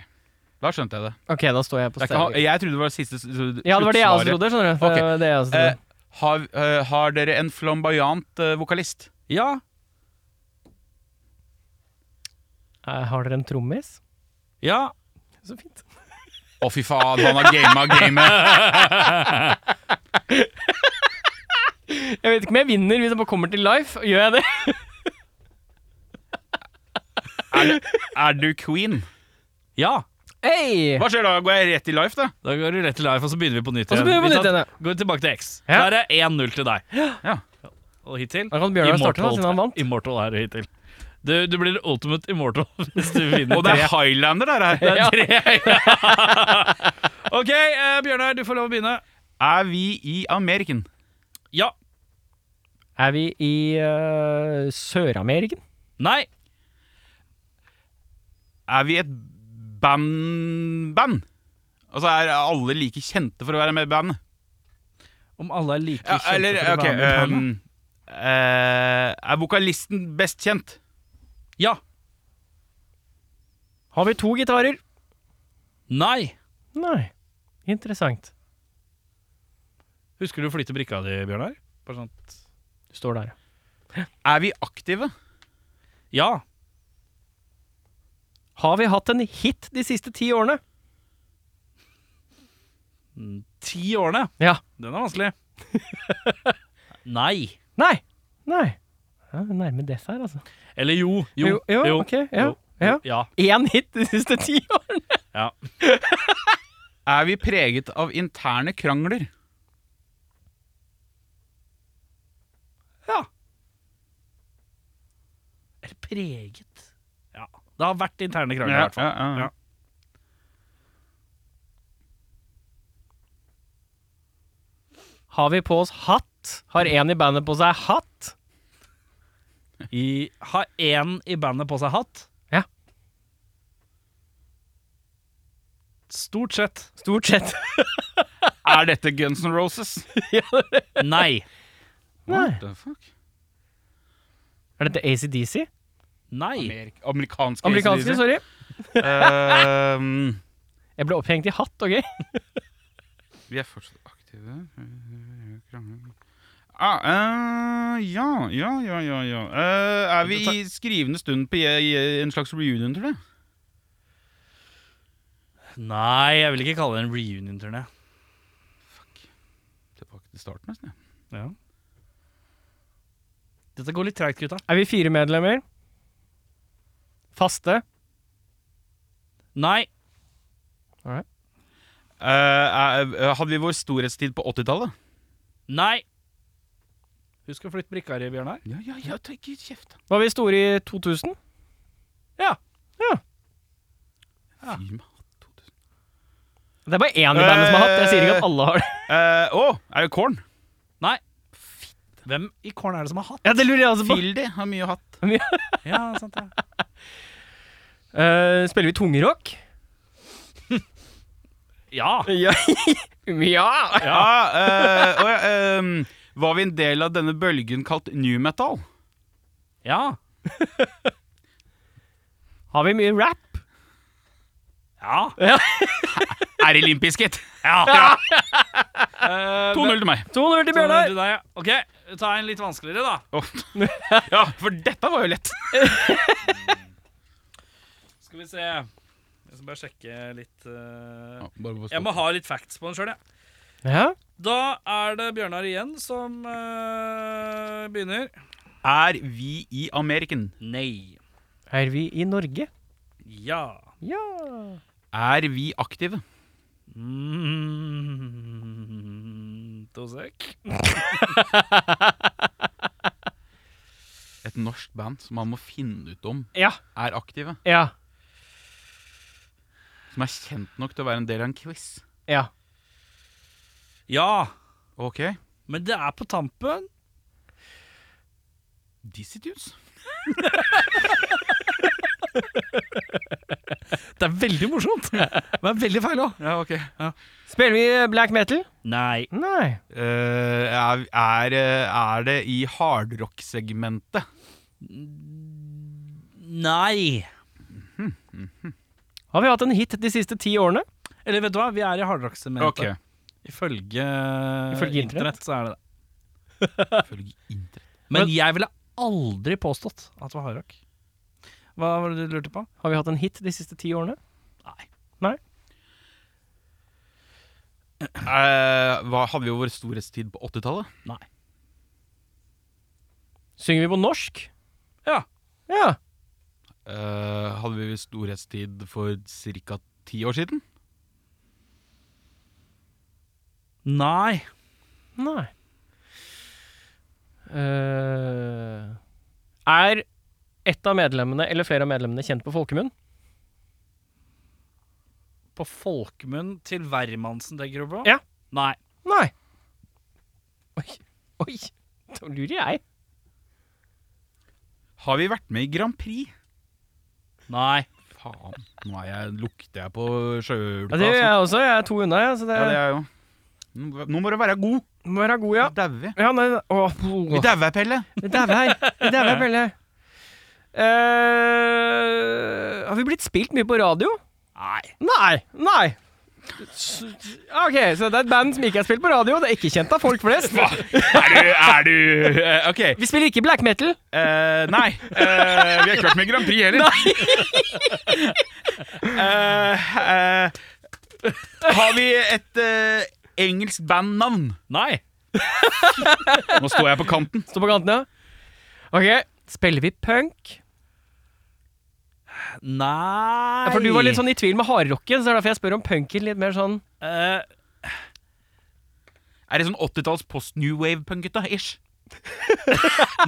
S1: Da skjønte jeg det.
S3: Ok, da står jeg på
S1: det er ikke, han-
S3: stedet.
S1: jeg trodde det var siste s- s-
S3: Ja, det var det jeg også
S1: sluttsvaret.
S3: trodde. skjønner du Det
S1: Ok.
S3: var det jeg også
S1: Eh,
S3: trodde.
S1: har, eh, har dere en flamboyant eh, vokalist?
S2: Ja.
S3: Eh, har dere en trommis?
S2: Ja.
S3: Så fint.
S1: Å, fy faen, han har gama gamet.
S3: Jeg vet ikke om jeg vinner hvis jeg bare kommer til life. Gjør jeg det?
S1: Er du queen?
S2: Ja.
S3: Hey!
S1: Hva skjer da? Går jeg rett i life, da?
S2: Da går du rett til life, og så begynner vi på nytt
S3: Og så begynner vi på
S2: Vi
S3: nytt
S2: tar-
S3: igjen,
S2: Går tilbake til X.
S3: Ja.
S2: Der er 1-0 til deg.
S1: Ja.
S2: Og hittil
S3: Da kan Bjørnar starte, da,
S2: Immortal.
S3: siden han vant.
S2: Immortal er det hittil. Du, du blir ultimate immortal hvis du vinner
S1: Og det er
S2: tre.
S1: Highlander, der her.
S2: Det er tre. OK, eh, Bjørnar, du får lov å begynne.
S1: Er vi i Ameriken?
S2: Ja.
S3: Er vi i eh, Sør-Ameriken?
S2: Nei!
S1: Er vi et band-band? Altså Er alle like kjente for å være med i bandet?
S2: Om alle er like
S1: Ja,
S2: kjente
S1: eller,
S2: for å
S1: ok
S2: være med i
S1: um,
S2: bandet?
S1: eh, Er vokalisten best kjent?
S2: Ja.
S3: Har vi to gitarer?
S2: Nei.
S3: Nei. Interessant.
S2: Husker du å flytte brikka di, Bjørnar? Bare sånn.
S3: Du står der, ja.
S1: Er vi aktive?
S2: Ja.
S3: Har vi hatt en hit de siste ti årene?
S2: Mm, Ti årene.
S3: Ja.
S2: Den er vanskelig. Nei.
S3: Nei. Nei. Ja, vi nærmer det seg, altså.
S2: Eller jo. Jo.
S3: Jo, jo, ok, ja,
S2: jo,
S3: ja.
S2: ja.
S3: Én hit de siste ti årene?
S2: Ja.
S1: Er vi preget av interne krangler?
S2: Ja. Eller preget Ja. Det har vært interne krangler, i hvert
S1: ja,
S2: fall.
S1: ja.
S2: Ja.
S3: Har vi på oss hatt? Har en i bandet på seg hatt?
S2: I, har én i bandet på seg hatt?
S3: Ja.
S2: Stort sett.
S3: Stort sett.
S1: Er dette Guns N' Roses?
S2: Nei.
S3: Nei.
S1: What the fuck?
S3: Er dette ACDC?
S2: Nei.
S1: Amerik amerikanske
S3: Amerikanske,
S1: ACDC.
S3: sorry.
S1: Ehm,
S3: Jeg ble opphengt i hatt, ok?
S1: vi er fortsatt aktive. Krangler. Ah, eh, ja, ja, ja, ja, ja. Eh, er vi i skrivende stund på i- i en slags reunion, tror du?
S2: Nei, jeg vil ikke kalle det en reunion-turné.
S1: Tilbake til starten, nesten. ja.
S2: Ja. Dette går litt treigt, gutta.
S3: Er vi fire medlemmer? Faste?
S2: Nei.
S1: Eh, er- hadde vi vår storhetstid på 80-tallet?
S2: Nei. Husk å flytte brikka di, Bjørnar.
S1: Ja, ja, ja, ta ikke kjeft.
S3: Var vi store i 2000?
S1: da. Fy meg.
S3: Det er bare én i bandet som har hatt. Jeg sier ikke at alle har det.
S1: Eh, Å, er det Korn?
S2: Hvem i korn er det som har hatt?
S3: Ja, det lurer jeg altså på.
S1: Fildi har mye hatt.
S2: Ja, sant det.
S3: Eh, spiller vi tungerock?
S2: Ja.
S3: Ja. ja.
S1: Ja, eh, og, ja, ehm, Var vi en del av denne bølgen kalt new metal?
S2: Ja.
S3: Har vi mye rap?
S2: Ja.
S1: Er det Limp Bizkit? Ja. 2-0 til meg.
S3: 200 til
S2: Bjørnar.
S3: Bjørnar.
S2: ja. Ok, ta en litt vanskeligere, da.
S1: Å. Ja, for dette var jo lett.
S2: Skal vi se. Jeg skal bare sjekke litt eh, Jeg må ha litt facts på den sjøl, jeg.
S3: Ja.
S2: Da er det Bjørnar igjen som eh, begynner.
S1: Er vi i Ameriken?
S2: Nei.
S3: Er vi i Norge?
S2: Ja.
S3: Ja.
S1: Er vi aktive?
S2: Mm, to sek.
S1: Et norsk band som man må finne ut om
S3: Ja.
S1: er aktive.
S3: Ja.
S1: Som er kjent nok til å være en del av en quiz.
S3: Ja.
S2: Ja,
S1: Ok.
S2: men det er på tampen.
S1: Dizzie Tunes.
S2: Det er veldig morsomt, men veldig feil òg.
S1: Ja, ok.
S3: Spiller vi black metal?
S2: Nei.
S3: Nei.
S1: Eh, er, er, eh, er det i hardrock-segmentet?
S2: Nei.
S3: Har vi hatt en hit de siste ti årene?
S2: Eller vet du hva, vi er i hardrockssementet.
S1: Ok.
S2: Ifølge,
S3: Ifølge
S2: internett så er det det.
S1: Følge internett.
S2: Men,
S3: Men-
S2: jeg ville aldri påstått at det var hardrock. Hva var det du lurte på?
S3: Har vi hatt en hit de siste ti årene?
S1: Eh, hva, hadde vi jo vår storhetstid på 80-tallet?
S3: Synger vi på norsk?
S2: Ja.
S3: Ja.
S1: Eh, hadde vi storhetstid for ca. ti år siden?
S2: Nei.
S3: Nei. Eh, er ett av medlemmene eller flere av medlemmene kjent på folkemunn?
S2: På folkemunn til hvermannsen, tenker du på?
S3: Ja.
S2: Nei.
S3: Nei. Oi. Oi. Da lurer jeg.
S1: Har vi vært med i Grand Prix?
S2: Nei.
S1: Faen, nå er jeg, lukter jeg på
S3: Ja,
S1: sjøulka.
S3: det gjør
S1: altså.
S3: jeg også. Jeg er to unna, jeg. Så det,
S1: Ja, det er jo. Nå- Nå må du være god.
S3: må være god, ja.
S1: Nå dauer vi.
S3: Ja, nei, å, oh,
S1: Vi dauer, Pelle.
S3: Vi dauer her. Vi dauer her, Pelle. Eh, har vi blitt spilt mye på radio?
S1: Nei.
S3: Nei. Nei. S- OK, så det er et band som ikke er spilt på radio. Det er ikke kjent av folk flest.
S1: Er du, er du eh, Ok.
S3: Vi spiller ikke black metal.
S1: Eh, nei. Eh, vi har ikke vært med i Grand Prix heller. Nei. Eh, har vi et eh, engelsk bandnavn?
S2: Nei.
S1: Nå står jeg på kanten.
S3: Stå på kanten, ja. OK. Spiller vi punk?
S2: Nei.
S3: Ja, for du var litt sånn i tvil med hardrocken, så det er derfor jeg spør om punken litt mer sånn
S2: Eh,
S1: Er det sånn 80-talls post-new wave-punkete? Ish.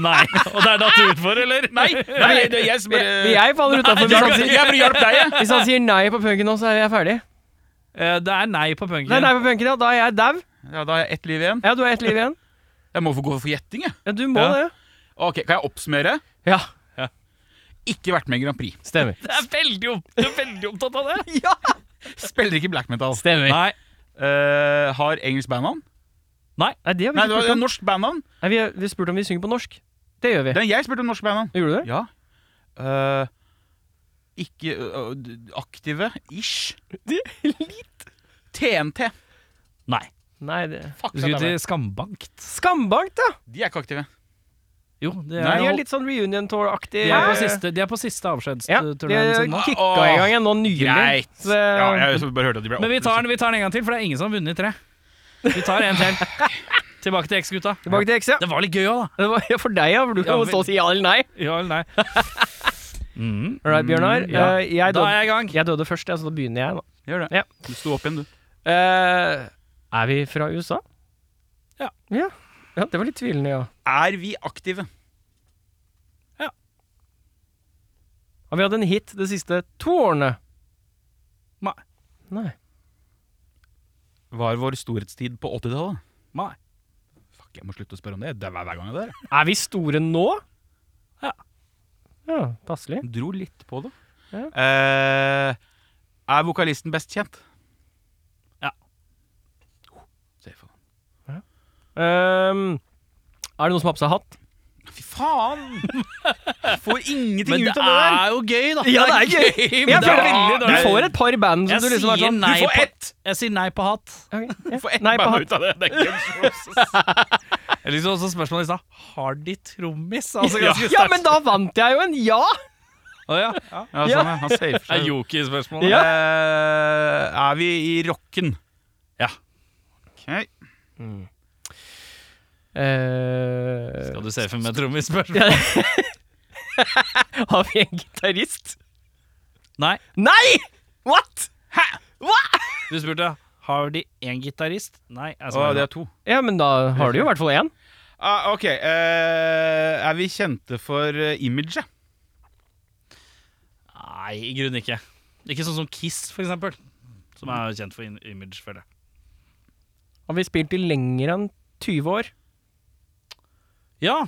S2: Nei. Og det er naturlig for, eller?
S1: Nei, nei, det er jeg som
S3: Men
S1: bare
S3: jeg faller utafor hvis, han
S1: Jeg,
S3: sier-
S1: jeg burde hjelpe deg, jeg.
S3: hvis han sier nei på punken nå, så er jeg ferdig.
S2: Eh, det er nei på punken.
S3: Nei, nei på punken, ja. Da er jeg dau.
S1: Ja, da har jeg ett liv igjen.
S3: Ja, du har ett liv igjen.
S1: Jeg må få gå for gjetting, jeg.
S3: Ja, du må
S1: Ja.
S3: det.
S1: Ok, Kan jeg oppsummere?
S3: Ja,
S1: Ikke vært med i Grand Prix.
S3: stemmer.
S2: Det er veldig, opp, du er veldig opptatt av det.
S1: Spiller ikke black metal.
S3: Stemmer.
S2: Nei.
S1: Eh, har engelsk bandnavn?
S3: Nei, det har vi
S1: Nei, det
S3: ikke
S1: var
S3: spurt om.
S1: norsk bandnavn.
S3: Nei, vi, vi spurte om vi synger på norsk. Det gjør vi.
S1: Den jeg spurte om norsk bandnavn.
S3: Gjorde du det?
S1: Ja. Eh, ikke eh, d- aktive ish. TNT.
S2: Nei.
S3: Nei, det
S1: Fuck,
S2: Du skulle
S1: det er
S2: til Skambankt.
S3: Skambankt, ja!
S1: meg. de er ikke aktive.
S2: Jo, det
S1: Nei,
S2: er
S3: De
S2: jo
S3: er litt sånn reunion tour-aktig.
S2: De er på
S3: Eh,
S2: siste, de er på siste
S3: Ja,
S2: avskjedsturneen
S3: de
S2: sin nå.
S3: kicka
S1: liksom, Åh,
S3: i gang igjen nå nylig.
S1: Greit.
S3: Så, eh,
S1: Ja, jeg så bare hørte at de ble
S2: Um, Men vi tar, den, vi tar den en gang til, for det er ingen som har vunnet tre. Vi tar en til. Tilbake til X-gutta.
S3: Tilbake til X, ja.
S2: Det var litt gøy òg, da.
S3: Det var ja, for deg, ja. For du kan
S2: Ja,
S3: jo
S2: vi-
S3: stå og si ja eller nei.
S2: Ja eller nei. Mm.
S3: All right, Bjørnar.
S2: Mm, ja.
S3: eh, jeg,
S2: Da er
S3: døde,
S2: jeg i gang.
S3: jeg døde først, jeg, så da begynner jeg nå.
S1: Gjør det.
S3: Ja.
S1: Du sto opp igjen, du.
S3: Eh, er vi fra USA?
S2: Ja.
S3: ja. Ja, det var litt tvilende, ja.
S1: Er vi aktive?
S3: Har vi hatt en hit de siste to årene?
S2: Nei.
S3: Nei.
S1: Var vår storhetstid på 80-tallet?
S2: Nei.
S1: Fuck, jeg må slutte å spørre om det. Det er hver, hver gang det er.
S3: Er vi store nå?
S2: Ja.
S3: Ja, passelig.
S1: Dro litt på det.
S3: Ja.
S1: Eh, er vokalisten best kjent?
S2: Ja.
S1: Oh, se for deg.
S3: Ehm, er det noen som har på seg hatt?
S1: Fy faen! Får ingenting
S2: Men
S1: ut
S2: det
S1: av det der.
S2: er jo gøy, da.
S3: Ja, det er
S2: gøy. men
S3: Ja,
S2: det er
S3: for-
S2: veldig
S3: Du
S2: dårlig.
S3: får et par band som
S2: Jeg
S3: du liksom er
S2: sier
S3: sånn
S2: nei
S1: du får
S2: på-
S1: ett!
S2: Jeg sier nei på hatt.
S3: Ok, ja.
S1: Du får ett
S3: Nei, på
S1: band
S3: hatt.
S1: ut av det. Det er ikke
S2: Jeg likte også spørsmålet i stad. Har de trommis? Altså
S1: Ja.
S2: ganske sterkt.
S3: Ja, men da vant jeg jo en ja!
S2: Å, ja. Ja.
S1: ja,
S3: Ja.
S1: sånn, ja. Han safer
S2: Det er
S1: seg.
S2: jokerspørsmål.
S3: Ja.
S1: Eh, er vi i rocken?
S2: Ja.
S1: Ok.
S3: Eh,
S2: Skal du se for meg trommisspørsmål?
S3: har vi en gitarist?
S2: Nei.
S3: Nei! What?!
S2: Du spurte har de én gitarist. Nei. Jeg
S1: Å, det
S2: svarer nei.
S1: er to.
S3: Ja, men da har du jo i hvert fall én.
S1: Ah, ok. eh, er vi kjente for uh, imaget?
S2: Nei, i grunnen ikke. Ikke sånn som Kiss, for eksempel. Som er kjent for in- image, føler jeg.
S3: Har vi spilt i lenger enn 20 år?
S2: Ja.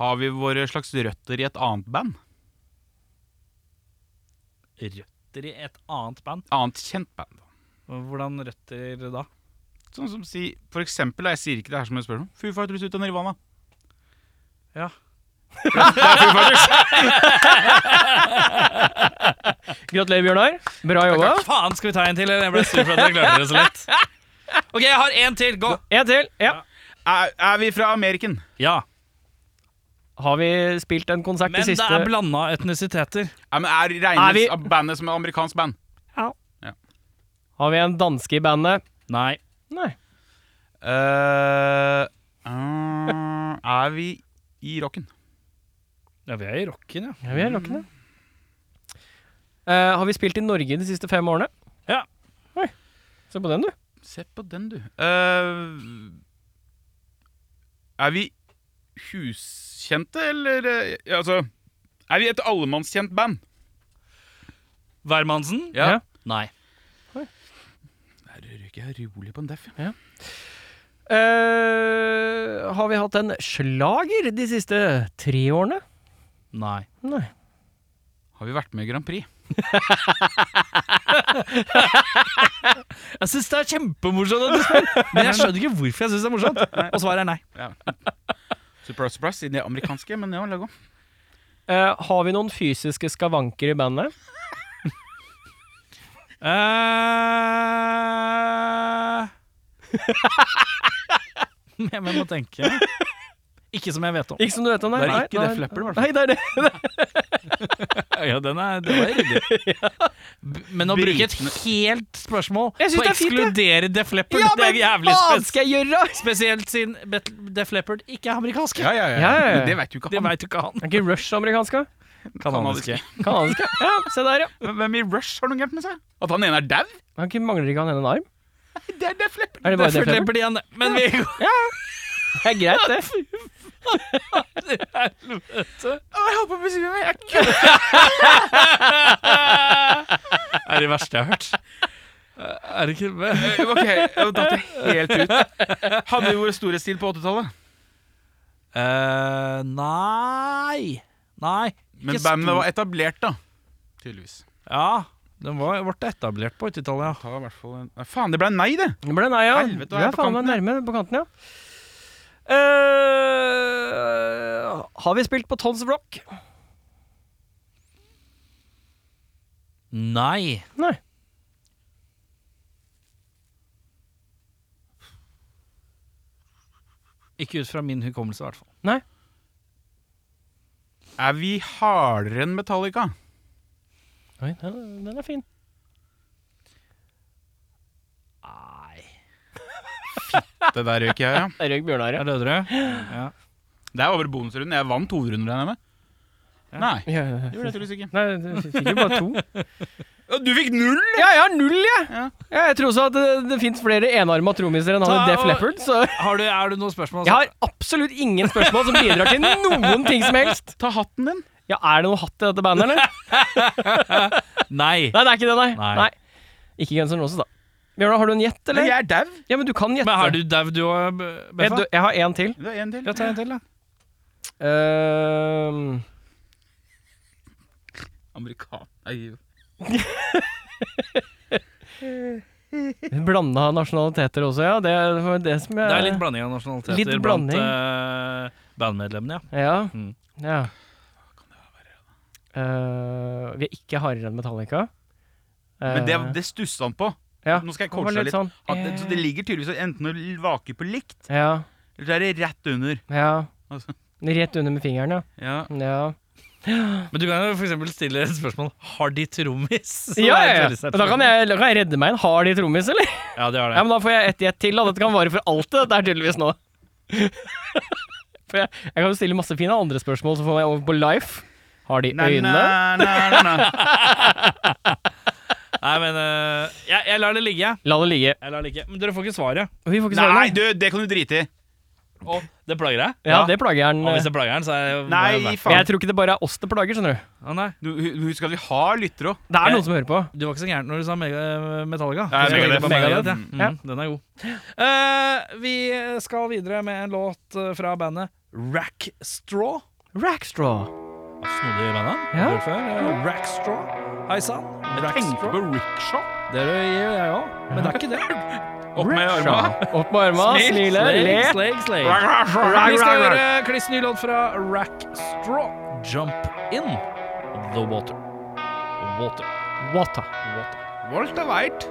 S1: Har vi våre slags røtter i et annet band?
S2: Røtter i et annet band.
S1: Annet kjent band? da.
S2: Hvordan røtter da?
S1: Sånn som si, For eksempel, da, jeg sier ikke det her som et spørsmål. Foo Fighters ut av Nirvana.
S2: Ja.
S1: Det er Foo Fighters.
S3: Gratulerer, Bjørnar. Bra jobba.
S2: Faen, skal vi ta en til? Eller? Jeg ble sur for at jeg klarte det så lett. OK, jeg har en til. Gå!
S3: En til. Ja.
S1: Er, er vi fra Ameriken?
S2: Ja.
S3: Har vi spilt en konsert
S2: Men
S3: de
S2: det
S3: siste
S2: er blanda etnisiteter.
S1: Ja, men er regnes
S3: Er vi-
S1: av bandet som et amerikansk band?
S3: Har vi en danske i bandet?
S2: Nei.
S3: Nei.
S1: eh eh, er vi i rocken?
S2: Ja, vi er i rocken, ja.
S3: Ja, vi er rockende. Eh, har vi spilt i Norge de siste fem årene?
S2: Ja.
S3: Oi. Se på den, du.
S1: Se på den, du. Eh, er vi huskjente, eller eh, ja, Altså Er vi et allemannskjent band?
S2: Værmannsen?
S3: Ja.
S2: Nei.
S1: Der røyker jeg rolig på en deff.
S3: Eh, har vi hatt en slager de siste tre årene?
S2: Nei.
S3: Nei.
S1: Har vi vært med i Grand Prix?
S2: Jeg syns det er kjempemorsomt at du spør, men jeg skjønner ikke hvorfor jeg syns det er morsomt. Og svaret er nei.
S1: Ja. Surprise, surprise, siden de er amerikanske. Men ja, la gå.
S3: Eh, har vi noen fysiske skavanker i bandet?
S2: Eh, jeg må tenke. Ikke som jeg vet om.
S3: Ikke som du vet om, nei.
S1: Det er
S3: nei,
S1: ikke
S3: nei,
S1: det flapper, i hvert fall.
S3: Nei, det er det.
S2: Ja, den er, den var ryddig. B- Men å bruke et helt spørsmål
S3: Jeg synes
S2: på å
S3: det er fint, jeg.
S2: ekskludere Def Leppard, det er jævlig
S3: hva
S2: spes
S3: skal jeg gjøre?
S2: spesielt siden Bet- Def Leppard ikke er amerikanske.
S1: Ja, ja, ja.
S3: Ja, ja, ja.
S1: Men det vet jo ikke
S2: Det
S1: han.
S2: veit jo ikke han.
S3: Er ikke Rush amerikanske?
S1: Kanadiske.
S3: Kanadiske? Ja, se der, ja.
S1: Men Hvem i Rush har noe gærent med seg? At han ene er dau?
S3: Han ikke- mangler ikke han en arm?
S1: Det er Def Leppard.
S3: Er det bare
S2: Def
S3: Def Leppard?
S2: Leppard igjen, men vi
S3: Det er greit, det.
S1: Å, Jeg holdt på å besvime meg! Jeg kødder!
S2: er det verste jeg har hørt. Eh, Er det ikke
S1: Eh, Ok, jeg datt det helt ut. Hadde jo storhetstid på 80-tallet.
S2: Eh, nei. Nei.
S1: Men
S2: ikke
S1: bandet
S2: stor-
S1: var etablert, da. Tydeligvis.
S2: Ja, den var, ble etablert på 80-tallet, ja.
S1: Ta i hvert fall en... Nei, faen, det ble nei, det!
S3: Det ble nei, ja.
S1: Helvete,
S3: Du
S1: er jeg
S3: er
S1: på
S3: faen meg nærme på kanten, ja. Eh, har vi spilt på Tons Rock?
S2: Nei.
S3: Nei.
S2: Ikke ut fra min hukommelse, i hvert fall.
S1: Er vi hardere enn Metallica?
S3: Oi, den, den er fin.
S2: Nei.
S1: Det der røyk jeg, ja.
S3: Røyk Bjørnar, ja.
S2: Er det dere? Ja.
S1: Det her var bare bonusrunden. Jeg vant hovedrunden, regner jeg med. Nei.
S3: ja, ja,
S1: Det
S3: ja.
S1: gjorde jeg tydeligvis ikke.
S3: Nei, du fikk jo bare to.
S1: Ja, Du fikk null!
S3: Ja, jeg har null, jeg! Ja.
S1: Ja.
S3: jeg tror også at det, det fins flere enarma trommiser enn han
S2: Ta
S3: i Def
S2: og-
S3: Leppard, så
S2: Har du, er det noen spørsmål? altså?
S3: jeg har absolutt ingen spørsmål som bidrar til noen ting som helst.
S1: Ta hatten din.
S3: Ja, Er det noe hatt i dette bandet, eller?
S2: Nei.
S3: Nei, det er ikke det, nei.
S2: Nei.
S3: Ikke Guns N' Roses, da. Bjørnar, har du en gjett,
S1: Men
S3: eller?
S1: jeg er dau.
S3: Ja, men du kan gjette.
S2: Men har du dau, du òg,
S3: jeg,
S2: Beffa?
S3: dø- jeg har én til.
S1: Det er en til.
S2: Ja, ta en til, da.
S3: Ehm,
S1: Amerikan. Nei,
S3: Blanda nasjonaliteter også, ja. Det var det som jeg
S2: Det er litt blanding av nasjonaliteter
S3: Eh, Litt
S2: blant
S3: blanding.
S2: eh, bandmedlemmene, ja.
S3: Ja.
S2: Mm.
S3: ja. Eh, vi er ikke hardere enn Metallica.
S1: Men det,
S3: Eh,
S1: det stussa han på.
S3: ja.
S1: Nå skal jeg
S3: Det var
S1: coache deg litt.
S3: Sånn.
S1: At, det- så det ligger tydeligvis enten å vake på likt,
S3: Ja,
S1: eller så er det rett under.
S3: ja.
S1: Altså.
S3: Rett under med fingeren, ja.
S1: Ja.
S3: Ja,
S2: Men du kan jo for eksempel stille et spørsmål Har de trommis? Så
S3: ja,
S2: det er
S3: ja.
S2: et veldig sterkt
S3: Da, kan jeg, da kan jeg redde meg en. Har de trommis, eller?
S2: spørsmål. Ja, de har
S3: Ja,
S2: det.
S3: men Da får jeg ett gjett til. Da. Dette kan vare for alltid. Dette er tydeligvis nå. For jeg, jeg kan jo stille masse fine andre spørsmål, så får jeg over på life. Har de
S1: Nei, eh,
S3: øyne?
S1: nei, nei, nei, nei.
S2: Nei, men eh, jeg, jeg lar det ligge, jeg.
S3: La det ligge.
S2: Jeg lar det ligge. Men dere får ikke svaret.
S3: Vi får ikke svare.
S1: nei, du, det kan du drite i.
S2: Å, det plager deg?
S3: Ja, det plager
S2: Og
S3: han.
S2: hvis det plager den, så er jeg
S1: Nei,
S2: Å,
S3: Men jeg
S1: faen.
S3: tror ikke det bare er oss det plager, skjønner du.
S2: nei.
S1: Du, hu- husk at vi har lyttere òg.
S3: Det er
S2: Jeg-
S3: noen som hører på.
S2: Du var ikke så gæren når du sa mega, eh, Metallica.
S1: Nei,
S2: Du tenkte
S1: Megadeth.
S2: på Megadeth, ja.
S1: Megadeth,
S2: Mm, Den er god. Eh, vi skal videre med en låt eh, fra bandet Rackstraw.
S3: Rackstraw.
S2: Snodig band,
S3: Ja.
S2: Rackstraw. Hei sann.
S1: Tenker
S2: Rackstraw.
S1: på rickshaw.
S2: Det gjør jeg òg, men det er ikke det.
S1: Opp med armene.
S3: Opp med arma, smile, le.
S2: Sleg, sleg, sleg. Vi skal høre kliss ny låt fra Rackstraw. Jump in the water. Water.
S3: Wata.
S2: water.
S1: Walter White.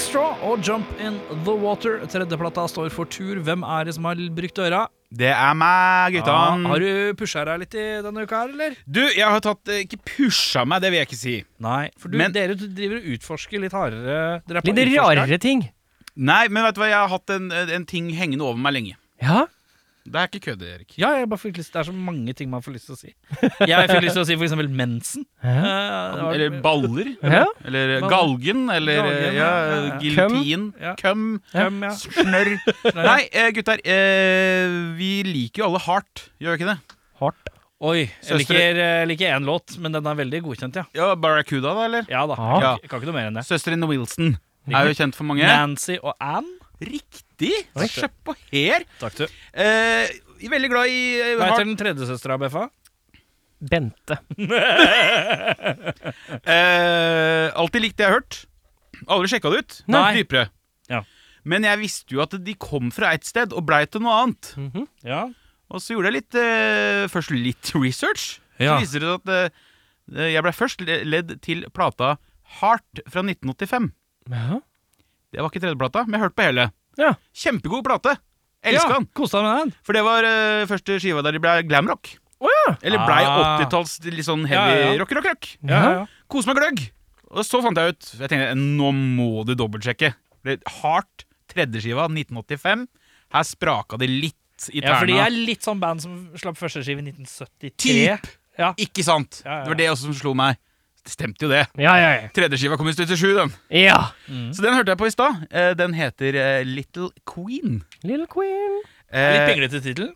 S2: Straw og Jump In The Water. Tredjeplata står for tur. Hvem er det som har brukt øra?
S1: Det er meg, gutta.
S2: Ja, har du pusha deg litt i denne uka her, eller?
S1: Du, jeg har tatt eh, Ikke pusha meg, det vil jeg ikke si.
S2: Nei. For du,
S1: Men-
S2: dere driver og utforsker litt hardere. Dere er på
S3: Litt
S2: utforskeren.
S3: rarere ting.
S1: Nei, men vet du hva, jeg har hatt en, en ting hengende over meg lenge.
S3: Ja.
S1: Det er ikke kødd, Erik.
S2: Ja, jeg bare fikk lyst, det er så mange ting man får lyst til å si. Jeg fikk lyst til å si for eksempel mensen.
S3: ja.
S2: Eh, det var-
S1: Eller baller.
S3: ja.
S1: Eller
S2: Baller.
S1: galgen. Eller
S2: Galgen,
S1: ja,
S2: ja, ja.
S1: giljotin.
S2: Ja.
S1: Køm.
S2: Køm, ja.
S1: Snørr. Nei, eh, gutter. eh, Vi liker jo alle hardt, gjør vi ikke det?
S3: Hardt.
S2: Oi, jeg
S1: Søstre-
S2: liker, eh, liker én låt, men den er veldig godkjent, ja.
S1: Ja, Barracuda, da, eller?
S2: Ja da,
S3: Ja.
S2: jeg kan ikke noe mer enn det.
S1: Søsteren Wilson er jo kjent for mange.
S2: Nancy og Ann.
S1: Riktig!
S2: Oi.
S1: Kjøp på her.
S2: Takk du.
S1: Eh, jeg er veldig glad i eh,
S2: Hva heter
S1: hardt.
S2: den tredje søstera, BFA?
S3: Bente.
S1: Eh, alltid likt det jeg har hørt. Aldri sjekka det ut.
S2: Nei.
S1: Dypere.
S2: Ja.
S1: Men jeg visste jo at de kom fra et sted og blei til noe annet.
S2: Ja.
S1: Og så gjorde jeg litt, eh, først litt research.
S2: Ja.
S1: Så viser det seg at eh, jeg blei først le- ledd til plata Heart fra 1985.
S3: Ja.
S1: Det var ikke tredjeplata, men jeg hørte på hele.
S3: Ja.
S1: Kjempegod plate. Elska den.
S2: Ja, Kos deg med den.
S1: For det var eh, første skiva der de blei glamrock.
S3: Å ja.
S1: Eller blei
S2: Ah.
S1: 80-talls litt sånn
S2: Ja, ja,
S1: heavy
S2: ja.
S1: rock, rock, rock.
S3: Ja.
S1: Kos meg gløgg. Og så fant jeg ut Jeg tenkte, Nå må du dobbeltsjekke. Det er Hardt, tredjeskiva, 1985. Her spraka det litt i tærne.
S2: Ja, fordi jeg er litt sånn band som slapp første skive i 1973.
S1: Typ.
S2: Ja.
S1: Ikke sant?
S2: Ja, ja, ja.
S1: Det var det også som slo meg. Det stemte jo, det.
S3: Ja, ja, ja.
S1: Tredjeskiva kom i 77, den.
S3: ja.
S1: Så den hørte jeg på i stad. Eh, Den heter eh, Little Queen.
S3: Little Queen.
S2: Litt
S1: Eh,
S2: pinglete tittel.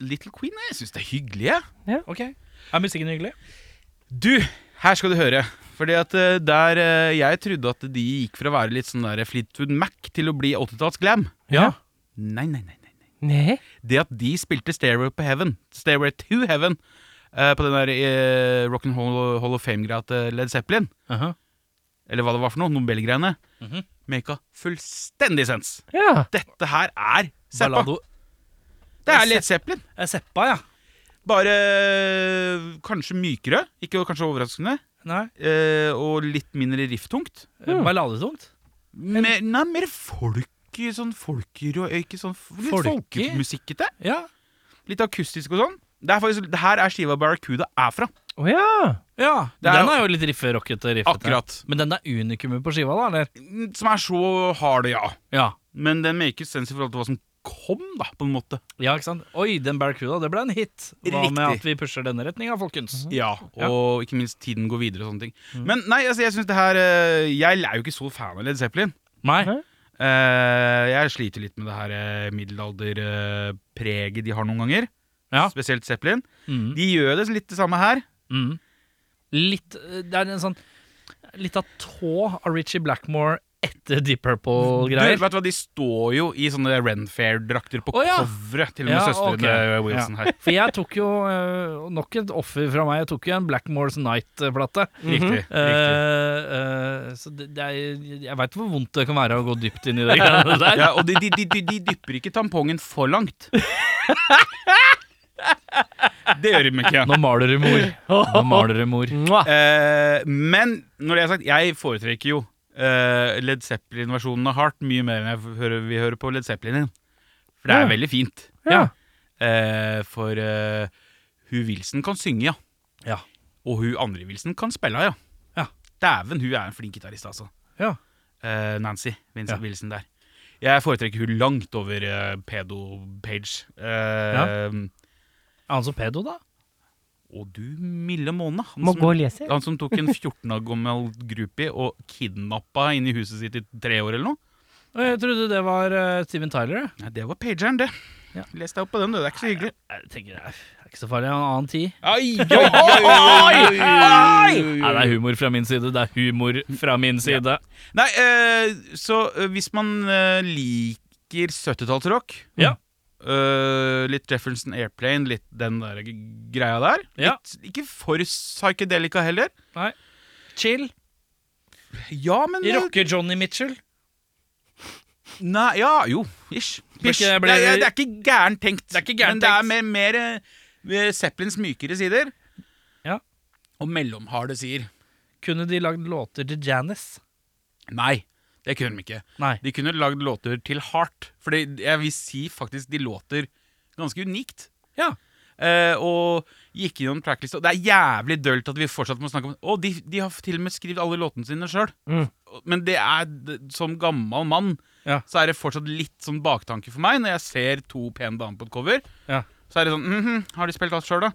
S1: Little Queen? Jeg syns det er hyggelig, jeg.
S2: Ok. Er musikken hyggelig?
S1: Du, her skal du høre. Fordi at eh, der eh, Jeg trodde at de gikk fra å være litt sånn der Fleetwood Mac til å bli 80-talls glam.
S2: Ja.
S1: Nei, nei, nei. nei.
S3: Nei.
S1: Det at de spilte Stairway på Heaven Stairway to Heaven eh, På den der eh, Rock and Roll Hall of Fame-greia til Led Zeppelin Eller hva det var for noe, Nobel-greiene
S2: Mhm.
S1: Maka fullstendig sens
S3: Ja.
S1: Dette her er Seppa
S2: Ballado.
S1: Det er Led Zeppelin
S2: Eh, Seppa, ja.
S1: Bare eh, kanskje mykere Ikke kanskje overraskende
S2: Nei.
S1: eh, Og litt mindre rifftungt
S3: Mm.
S2: eh, Balladetungt.
S1: mer, Nei, mer folk Sånn folkerå Ikke sånn f- Litt
S2: Folke?
S1: folkemusikkete
S2: Ja.
S1: Litt akustisk og sånn det, er faktisk, det her er skiva Barracuda er fra
S3: Å ja.
S2: ja.
S1: Det er
S2: den
S1: jo-
S2: er jo litt rifferockete. riffete.
S1: Akkurat
S2: Men den er unikumet på skiva, da? eller?
S1: Mm, som er så hard, ja.
S2: Ja.
S1: Men den makes sense i forhold til hva som kom, da, på en måte.
S2: Ja, ikke sant? Oi, den Barracuda, det ble en hit. Hva med
S1: Riktig. Mhm.
S2: at vi pusher denne retninga, folkens?
S1: Ja, Og ikke minst tiden går videre og sånne ting.
S2: Mm.
S1: Men nei, altså, jeg syns det her eh, Jeg er jo ikke så fan av Led Zeppelin.
S2: Nei.
S1: Eh, jeg sliter litt med det her eh, middelalderpreget de har noen ganger.
S2: Ja.
S1: Spesielt Zeppelin.
S2: Mm.
S1: De gjør det litt det samme her.
S2: Mm. Litt eh, Det er en sånn Litt av tå av Richie Blackmore etter Deep
S1: Du,
S2: Purple-greier.
S1: vet du hva, De står jo i sånne Renfair-drakter på
S2: Å, ja.
S1: coveret, til og med
S2: Ja,
S1: søstrene
S2: ok.
S1: Wilson her.
S2: For jeg tok jo eh, nok et offer fra meg. Jeg tok jo en Blackmore's Night-plate.
S1: Riktig.
S2: Eh,
S1: riktig.
S2: eh, så det, det er, jeg veit hvor vondt det kan være å gå dypt inn i det greiene der.
S1: Ja, og de, de, de, de, de dypper ikke tampongen for langt. Det gjør de ikke.
S2: Nå maler du mor. Nå maler du mor.
S3: Mwah.
S1: Eh, men når det er sagt, jeg foretrekker jo eh, Led Zeppelin-versjonen av Heart mye mer enn jeg hører, vi hører på Led Zeppelin. For det er
S3: Ja.
S1: veldig fint.
S3: Ja.
S1: Eh, for eh, hun Wilson kan synge, ja.
S2: Ja.
S1: Og hun andre Wilson kan spille, ja.
S2: Ja.
S1: Dæven, hun er en flink gitarist, altså.
S2: Ja.
S1: Eh, Nancy Vincent
S2: Ja.
S1: Wilson der. Jeg foretrekker hun langt over eh, pedo page. Eh,
S2: Er han så pedo, da?
S1: Og du milde måne. Han
S3: Må
S1: som-
S3: gå og lese.
S1: Han som tok en 14 år gammel groupie og kidnappa inn i huset sitt i tre år eller noe.
S2: Og Jeg trodde det var eh, Steven Tyler. jeg.
S1: Nei, det var pageren, det.
S2: Ja.
S1: Les deg opp på den, du. Det er ikke så hyggelig.
S2: Jeg tenker Det er det er ikke så farlig. En annen tid.
S1: Oi, oi, oi, oi,
S2: Nei, det er humor fra min side. Det er humor fra min side.
S1: Nei, eh, så eh, hvis man eh, liker 70-tallsrock
S2: Mm. Ja.
S1: eh, Litt Jefferson Airplane, litt den der g- greia der.
S2: Ja.
S1: Litt, ikke for psychedelica heller.
S2: Chill.
S1: Ja, men
S2: Rocker Johnny Mitchell.
S1: Nei, ja, jo, ish.
S2: Blir
S1: ish.
S2: ikke- blir-
S1: det, er, det er ikke gærent tenkt.
S2: Det er ikke
S1: men
S2: gærent
S1: det er
S2: tenkt.
S1: mer, mer eh, Zeppelins mykere sider.
S2: Ja.
S1: Og mellomharde sider.
S2: Kunne de lagd låter til Janis?
S1: Nei. Det kunne de ikke.
S2: Nei.
S1: De kunne lagd låter til Heart. For jeg vil si faktisk de låter ganske unikt.
S2: Ja.
S1: Eh, og gikk inn i en tracklist. Og det er jævlig dølt at vi fortsatt må snakke om Å, de, de har til og med skrevet alle låtene sine sjøl.
S3: Mm.
S1: Men det er d- som gammel mann
S2: Ja.
S1: så er det fortsatt litt sånn baktanke for meg når jeg ser to pene damer på et cover.
S2: Ja.
S1: Så er det sånn «Mhm, Har de spilt alt sjøl, da?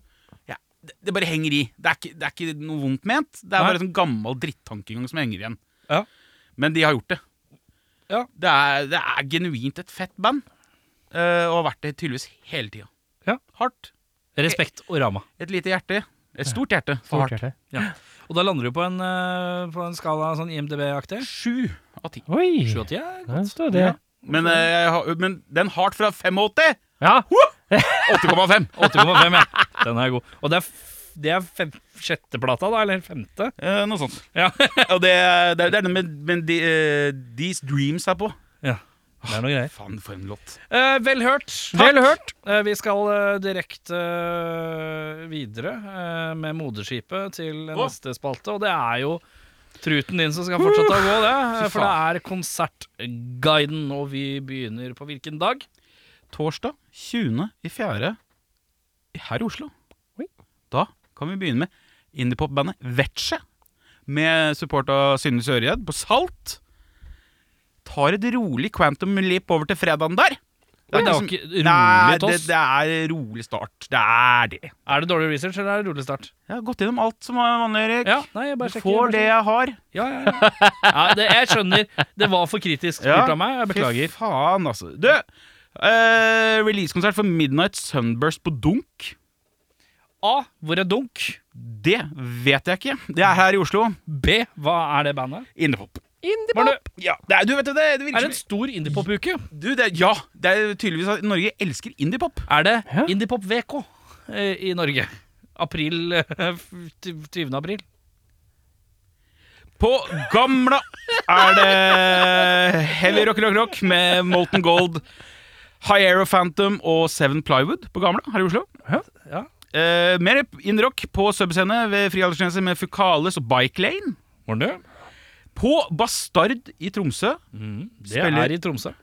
S1: Ja, det, det bare henger i. Det er, ikke, det er ikke noe vondt ment. Det er
S2: Nei.
S1: bare sånn gammel drittankegang som henger igjen.
S2: Ja.
S1: Men de har gjort det.
S2: Ja.
S1: Det, er, det er genuint et fett band. eh, og har vært det tydeligvis hele tida.
S2: Ja.
S1: Hardt.
S2: Respekt og ramma.
S1: Et lite hjerte. Et stort hjerte. for
S3: Stort
S1: hardt.
S3: hjerte.
S2: Og da lander du på en, eh, på en skala sånn IMDb-aktig.
S1: Sju av ti.
S3: Oi!
S2: 87 er
S3: Der
S2: godt.
S3: står det.
S1: Men, eh, jeg har- men den hardt fra 85!
S3: Ja.
S1: 8,5.
S2: 8,5, ja. Den er god. Og det er, f det er fem, sjette plata, da? Eller femte?
S1: Eh, noe sånt.
S2: Ja.
S1: og det, er- det er det er den med, med de, eh, These Dreams er på.
S2: Det er noe greier.
S1: Faen, for en låt.
S2: Eh, vel hørt.
S3: Vel hørt.
S2: Eh, vi skal eh, direkte eh, videre eh, med moderskipet til
S1: Å.
S2: neste spalte, og det er jo Truten din som skal fortsette å gå, det. eh,
S1: Fy
S2: For det er konsertguiden, og vi begynner på hvilken dag?
S1: Torsdag 20. i fjerde her i Oslo.
S3: Oi.
S1: Da kan vi begynne med indiepop-bandet Vetsje. Med support av Synne Søreid på Salt. Tar et rolig quantum leap over til fredagen der.
S2: Det er jo
S1: liksom-
S2: ikke
S1: Nei,
S2: rolig til
S1: det,
S2: oss.
S1: det er rolig start. Det er det.
S2: Er det dårlig research, eller er det rolig start?
S1: Jeg har gått gjennom alt som er vanlig, Erik.
S2: Ja, nei, jeg bare
S1: du
S2: sjekker.
S1: får det jeg har.
S2: Ja, ja, ja. ja det, jeg skjønner. Det var for kritisk spurt
S1: Ja.
S2: av meg. Jeg beklager.
S1: Fy faen, altså. Du, eh, releasekonsert for Midnight Sunburst på Dunk.
S2: A. Hvor er Dunk?
S1: Det vet jeg ikke. Det er her i Oslo.
S2: B. Hva er det bandet?
S1: Innepop.
S2: Var det,
S1: Ja, det er, du vet jo det, det
S2: er
S1: virker
S2: det en stor indiepop-uke?
S1: som du, det, er- Ja, det er tydeligvis at Norge elsker indiepop.
S2: er det
S3: Hæ?
S2: Indiepop VK eh, i Norge. April eh, 20. april.
S1: På Gamla er det heavy rock, rock, rock med Molten Gold, High Aero Phantom og Seven Plywood på Gamla her i Oslo.
S2: Ja.
S1: Eh, mer indrock på subscene ved Frialdersgrense med Fukales og Bike Lane.
S2: Var det?
S1: På Bastard i Tromsø
S2: Det
S1: Spiller-
S2: er i Tromsø.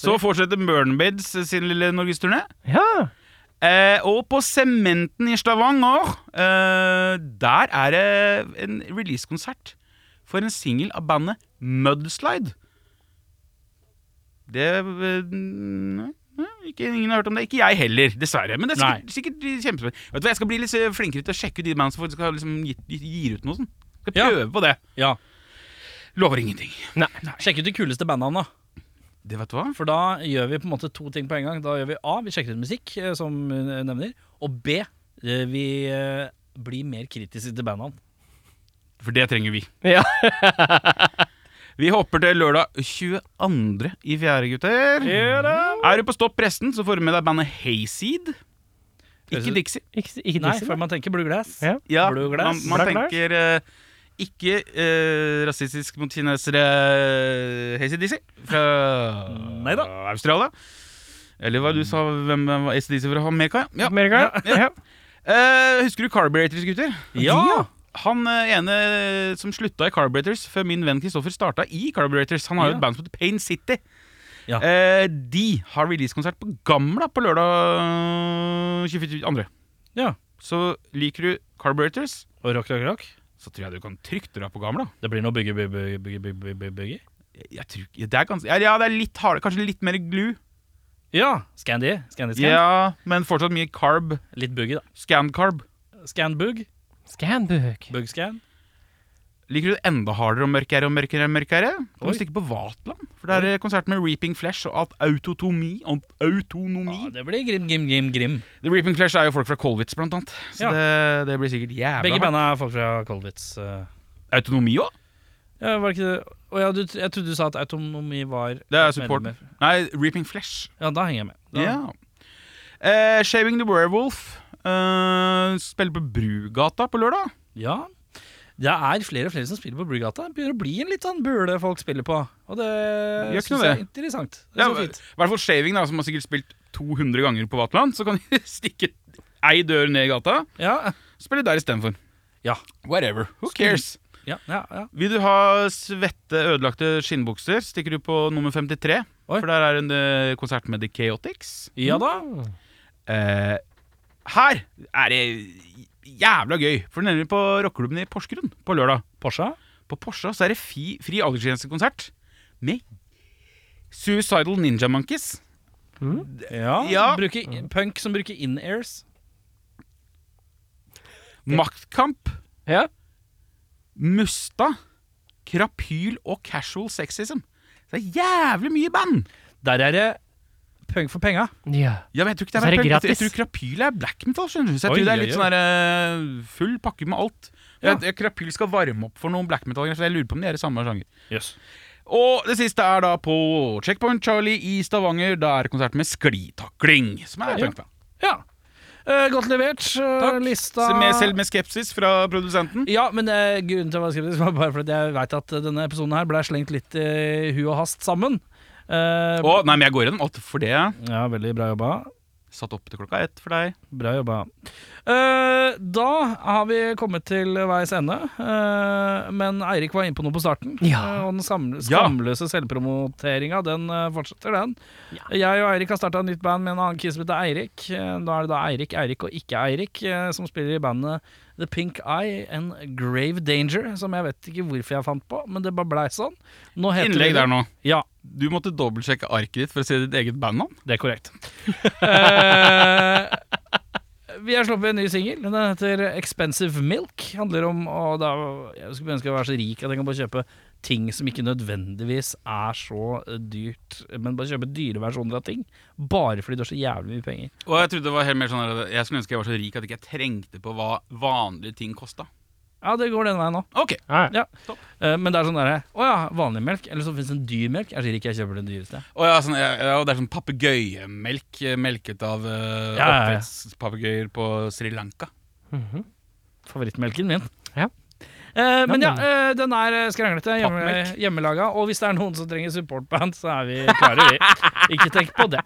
S1: Så fortsetter Murnbeds sin lille norgesturné.
S3: Ja.
S1: Eh, og på Sementen i Stavanger, eh, der er det en releasekonsert for en singel av bandet Mudslide. Det eh, Nei, nei, ikke, ingen har hørt om det. Ikke jeg heller, dessverre. Men det er sikkert, sikkert kjempespennende. Vet du hva, Jeg skal bli litt eh, flinkere til å sjekke ut de bandene som faktisk har liksom gitt, gir ut noe sånt. Skal
S2: Ja.
S1: prøve på det.
S2: Ja.
S1: Lover ingenting.
S2: Sjekk ut de kuleste bandnavna,
S1: Det vet du hva?
S2: for da gjør vi på en måte to ting på en gang. Da gjør vi A, vi sjekker ut musikk, eh, som hun eh, nevner, og B, eh, vi eh, blir mer kritiske til bandnavn.
S1: For det trenger vi.
S3: Ja.
S1: Vi hopper til lørdag 22. i fjerde, gutter. Er du på Stopp presten, så får du med deg bandet Hayseed. Ikke
S2: Høres ut-
S1: Dixie.
S3: Ikke, ikke
S2: Nei,
S3: disse,
S2: før
S3: da.
S2: man tenker blueglass.
S3: Ja.
S1: Ja,
S2: Blue
S1: man,
S2: Glass.
S1: man
S3: Black Glass.
S1: tenker eh, ikke eh, rasistisk mot kinesere Hayseed Dixie fra
S2: Neida.
S1: Australia. Eller hva du sa, hvem var Hayseed Dixie fra Amerika? Ja.
S3: Amerika.
S1: Ja.
S3: Ja.
S1: Eh, husker du Carburetors, gutter?
S2: Ja.
S1: Han eh, ene som slutta i Carburetors før min venn Kristoffer starta i Carburetors. Han har jo
S2: Ja.
S1: et band som heter Pain City.
S2: Ja.
S1: Eh, de har releasekonsert på Gamla på lørdag eh, 22.
S2: Ja.
S1: Så liker du Carburetors,
S2: Og rock, rock, rock.
S1: så tror jeg du kan trygt dra på Gamla.
S2: Det blir noe bygge, bygge, bygge, bygge, bygge, bygge.
S1: Jeg, jeg tror, ja, det er ganske, ja, ja, det er litt hardere. Kanskje litt mer glue.
S2: Ja, Scandi, Scandi, Scand.
S1: Ja, men fortsatt mye carb.
S2: Litt buggy da.
S1: Scan-carb.
S2: Scan-bug,
S3: Scanbook.
S2: bug-scan.
S1: Liker du det enda hardere og mørkere og mørkere og mørkere? Kan
S2: Oi.
S1: du stikke på Vatland? For der er eh, konsert med Reaping Flesh og alt autotomi. alt Autonomi.
S2: Ja, Ah, det blir grim, grim, grim, grim.
S1: The Reaping Flesh er jo folk fra Kolwitz, blant annet. Så
S2: Ja.
S1: det, det blir sikkert jævla
S2: Begge
S1: hardt.
S2: banda er folk fra Kolwitz. eh.
S1: Autonomi òg?
S2: Ja, var det ikke det? Å ja, du, jeg trodde du sa at autonomi var
S1: Det er support.
S2: medlemmer.
S1: Nei, Reaping Flesh.
S2: Ja, da henger jeg med. Da,
S1: Ja. Eh, Shaving the Werewolf eh, spiller på Brugata på lørdag.
S2: ja. Det er flere og flere som spiller på Brugata. Det begynner å bli en litt sånn bule folk spiller på. Og det
S1: Gjør ikke
S2: syns
S1: noe
S2: jeg er
S1: det.
S2: interessant. Det
S1: Ja,
S2: er så
S1: I
S2: fint.
S1: hvert fall Shaving, da, som har sikkert spilt 200 ganger på Vatland. Så kan de stikke ei dør ned i gata,
S2: Ja.
S1: spille der istedenfor.
S2: Ja.
S1: Whatever. Who cares?
S2: Ja, ja, ja.
S1: Vil du ha svette, ødelagte skinnbukser, stikker du på nummer 53.
S2: Oi.
S1: For der er en eh, konsert med The Chaotix.
S2: ja da.
S1: Eh, her er det jævla gøy, for nemlig på rockeklubben i Porsgrunn på lørdag.
S2: Porsche.
S1: På Porsche så er det fi, fri aldersgrensekonsert med Suicidal Ninja Monkeys.
S2: Ja.
S1: Ja.
S2: Bruker, punk som bruker in-airs.
S1: Maktkamp,
S3: Ja.
S1: Musta, Krapyl og Casual Sexism. Det er jævlig mye band!
S2: Der er det punk for penga.
S3: ja.
S1: Ja, men jeg tror ikke det
S3: Så er
S1: er,
S3: det
S1: punk. Jeg
S3: gratis.
S1: tror Krapyl er black metal, skjønner du. Så jeg
S2: Oi,
S1: tror det er
S2: oi,
S1: litt
S2: oi.
S1: sånn der eh, full pakke med alt.
S2: Ja.
S1: Jeg- jeg- Krapyl skal varme opp for noen black metal-greier, så jeg lurer på om de er i samme sjanger.
S2: Yes.
S1: Og det siste er da på Checkpoint Charlie i Stavanger. Da er det konsert med sklitakling. Som er
S2: Ja.
S1: punkband.
S2: Ja. Eh, godt levert. Eh, Lista
S1: Så Med, selv med skepsis fra produsenten.
S2: Ja, men eh, grunnen til at jeg var skeptisk var bare fordi jeg veit at eh, denne episoden her ble slengt litt i hu og hast sammen. Eh,
S1: Å, nei, men jeg går gjennom alt for det.
S2: Ja, veldig bra jobba.
S1: Satt opp til klokka ett for deg.
S2: Bra jobba. Eh, da har vi kommet til veis ende. Eh, men Eirik var inne på noe på starten.
S3: Ja.
S2: Eh, og den samle,
S1: Ja.
S2: skamløse selvpromoteringa, den eh, fortsetter, den.
S3: Ja.
S2: Jeg og Eirik har starta nytt band med en annen kis som heter Eirik. Eh, da er det da Eirik, Eirik og ikke Eirik eh, som spiller i bandet The Pink Eye and Grave Danger, som jeg vet ikke hvorfor jeg fant på, men det bare blei sånn. Nå heter
S1: Innlegg
S2: vi
S1: der nå.
S2: Ja,
S1: Du måtte dobbeltsjekke arket ditt for å se ditt eget bandnavn.
S2: det er korrekt. Eh, vi har sluppet en ny singel. Den heter Expensive Milk. Handler om å da, Jeg skulle ønske jeg var så rik at jeg kan bare kjøpe ting som ikke nødvendigvis er så eh, dyrt, men bare kjøpe dyre versjoner av ting. Bare fordi du har så jævlig mye penger.
S1: Og jeg trodde det var helt mer sånn der, Jeg skulle ønske jeg var så rik at jeg ikke trengte på hva vanlige ting kosta.
S2: Ja, det går den veien nå.
S1: Ok,
S3: Ja.
S2: Ja. Eh, men det er sånn derre Å ja, vanlig melk. Eller så fins det en dyr melk. Jeg er så rik, jeg kjøper den dyreste.
S1: og, ja, sånn, ja, ja, og det er sånn papegøyemelk eh, melket av uh,
S2: Ja, ja, ja.
S1: oppdrettspapegøyer på Sri Lanka.
S3: Mhm.
S2: favorittmelken min.
S3: Ja.
S2: Eh, men ja,
S3: men-
S2: eh, den er eh, skranglete, hjemme,
S1: Pappmelk.
S2: hjemmelaga. Og hvis det er noen som trenger supportband, så er vi klare, vi. Ikke tenk på det.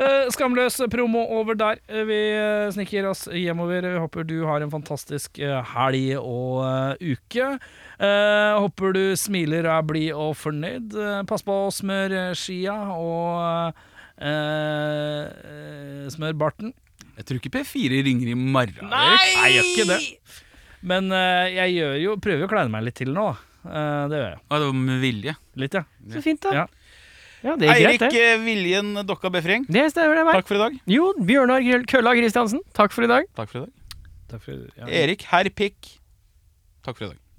S2: Eh, skamløs promo over der. Eh, vi eh, sniker oss hjemover. Vi håper du har en fantastisk eh, helg og eh, uke. Eh, håper du smiler, er blid og fornøyd. Eh, pass på å smøre eh, skia og eh, eh, smør barten.
S1: Jeg tror ikke P4 ringer i morgen.
S2: Nei!
S1: Erik.
S2: Nei, jeg gjør ikke det. Men eh, jeg gjør jo, prøver jo å kleine meg litt til nå. Eh, det gjør jeg.
S1: Å, det var med vilje.
S2: Litt, ja.
S3: Så fint, da.
S2: Ja.
S3: Ja, det er greit, det.
S1: eh, Viljen Dokka Befring,
S3: Det stemmer, det. Meg.
S1: takk for i dag.
S3: Jo, Bjørnar Grøl- Kølla Kristiansen, takk for i dag.
S1: Takk for i dag.
S2: Takk for, ja.
S1: Erik Herr Pikk, takk for i dag.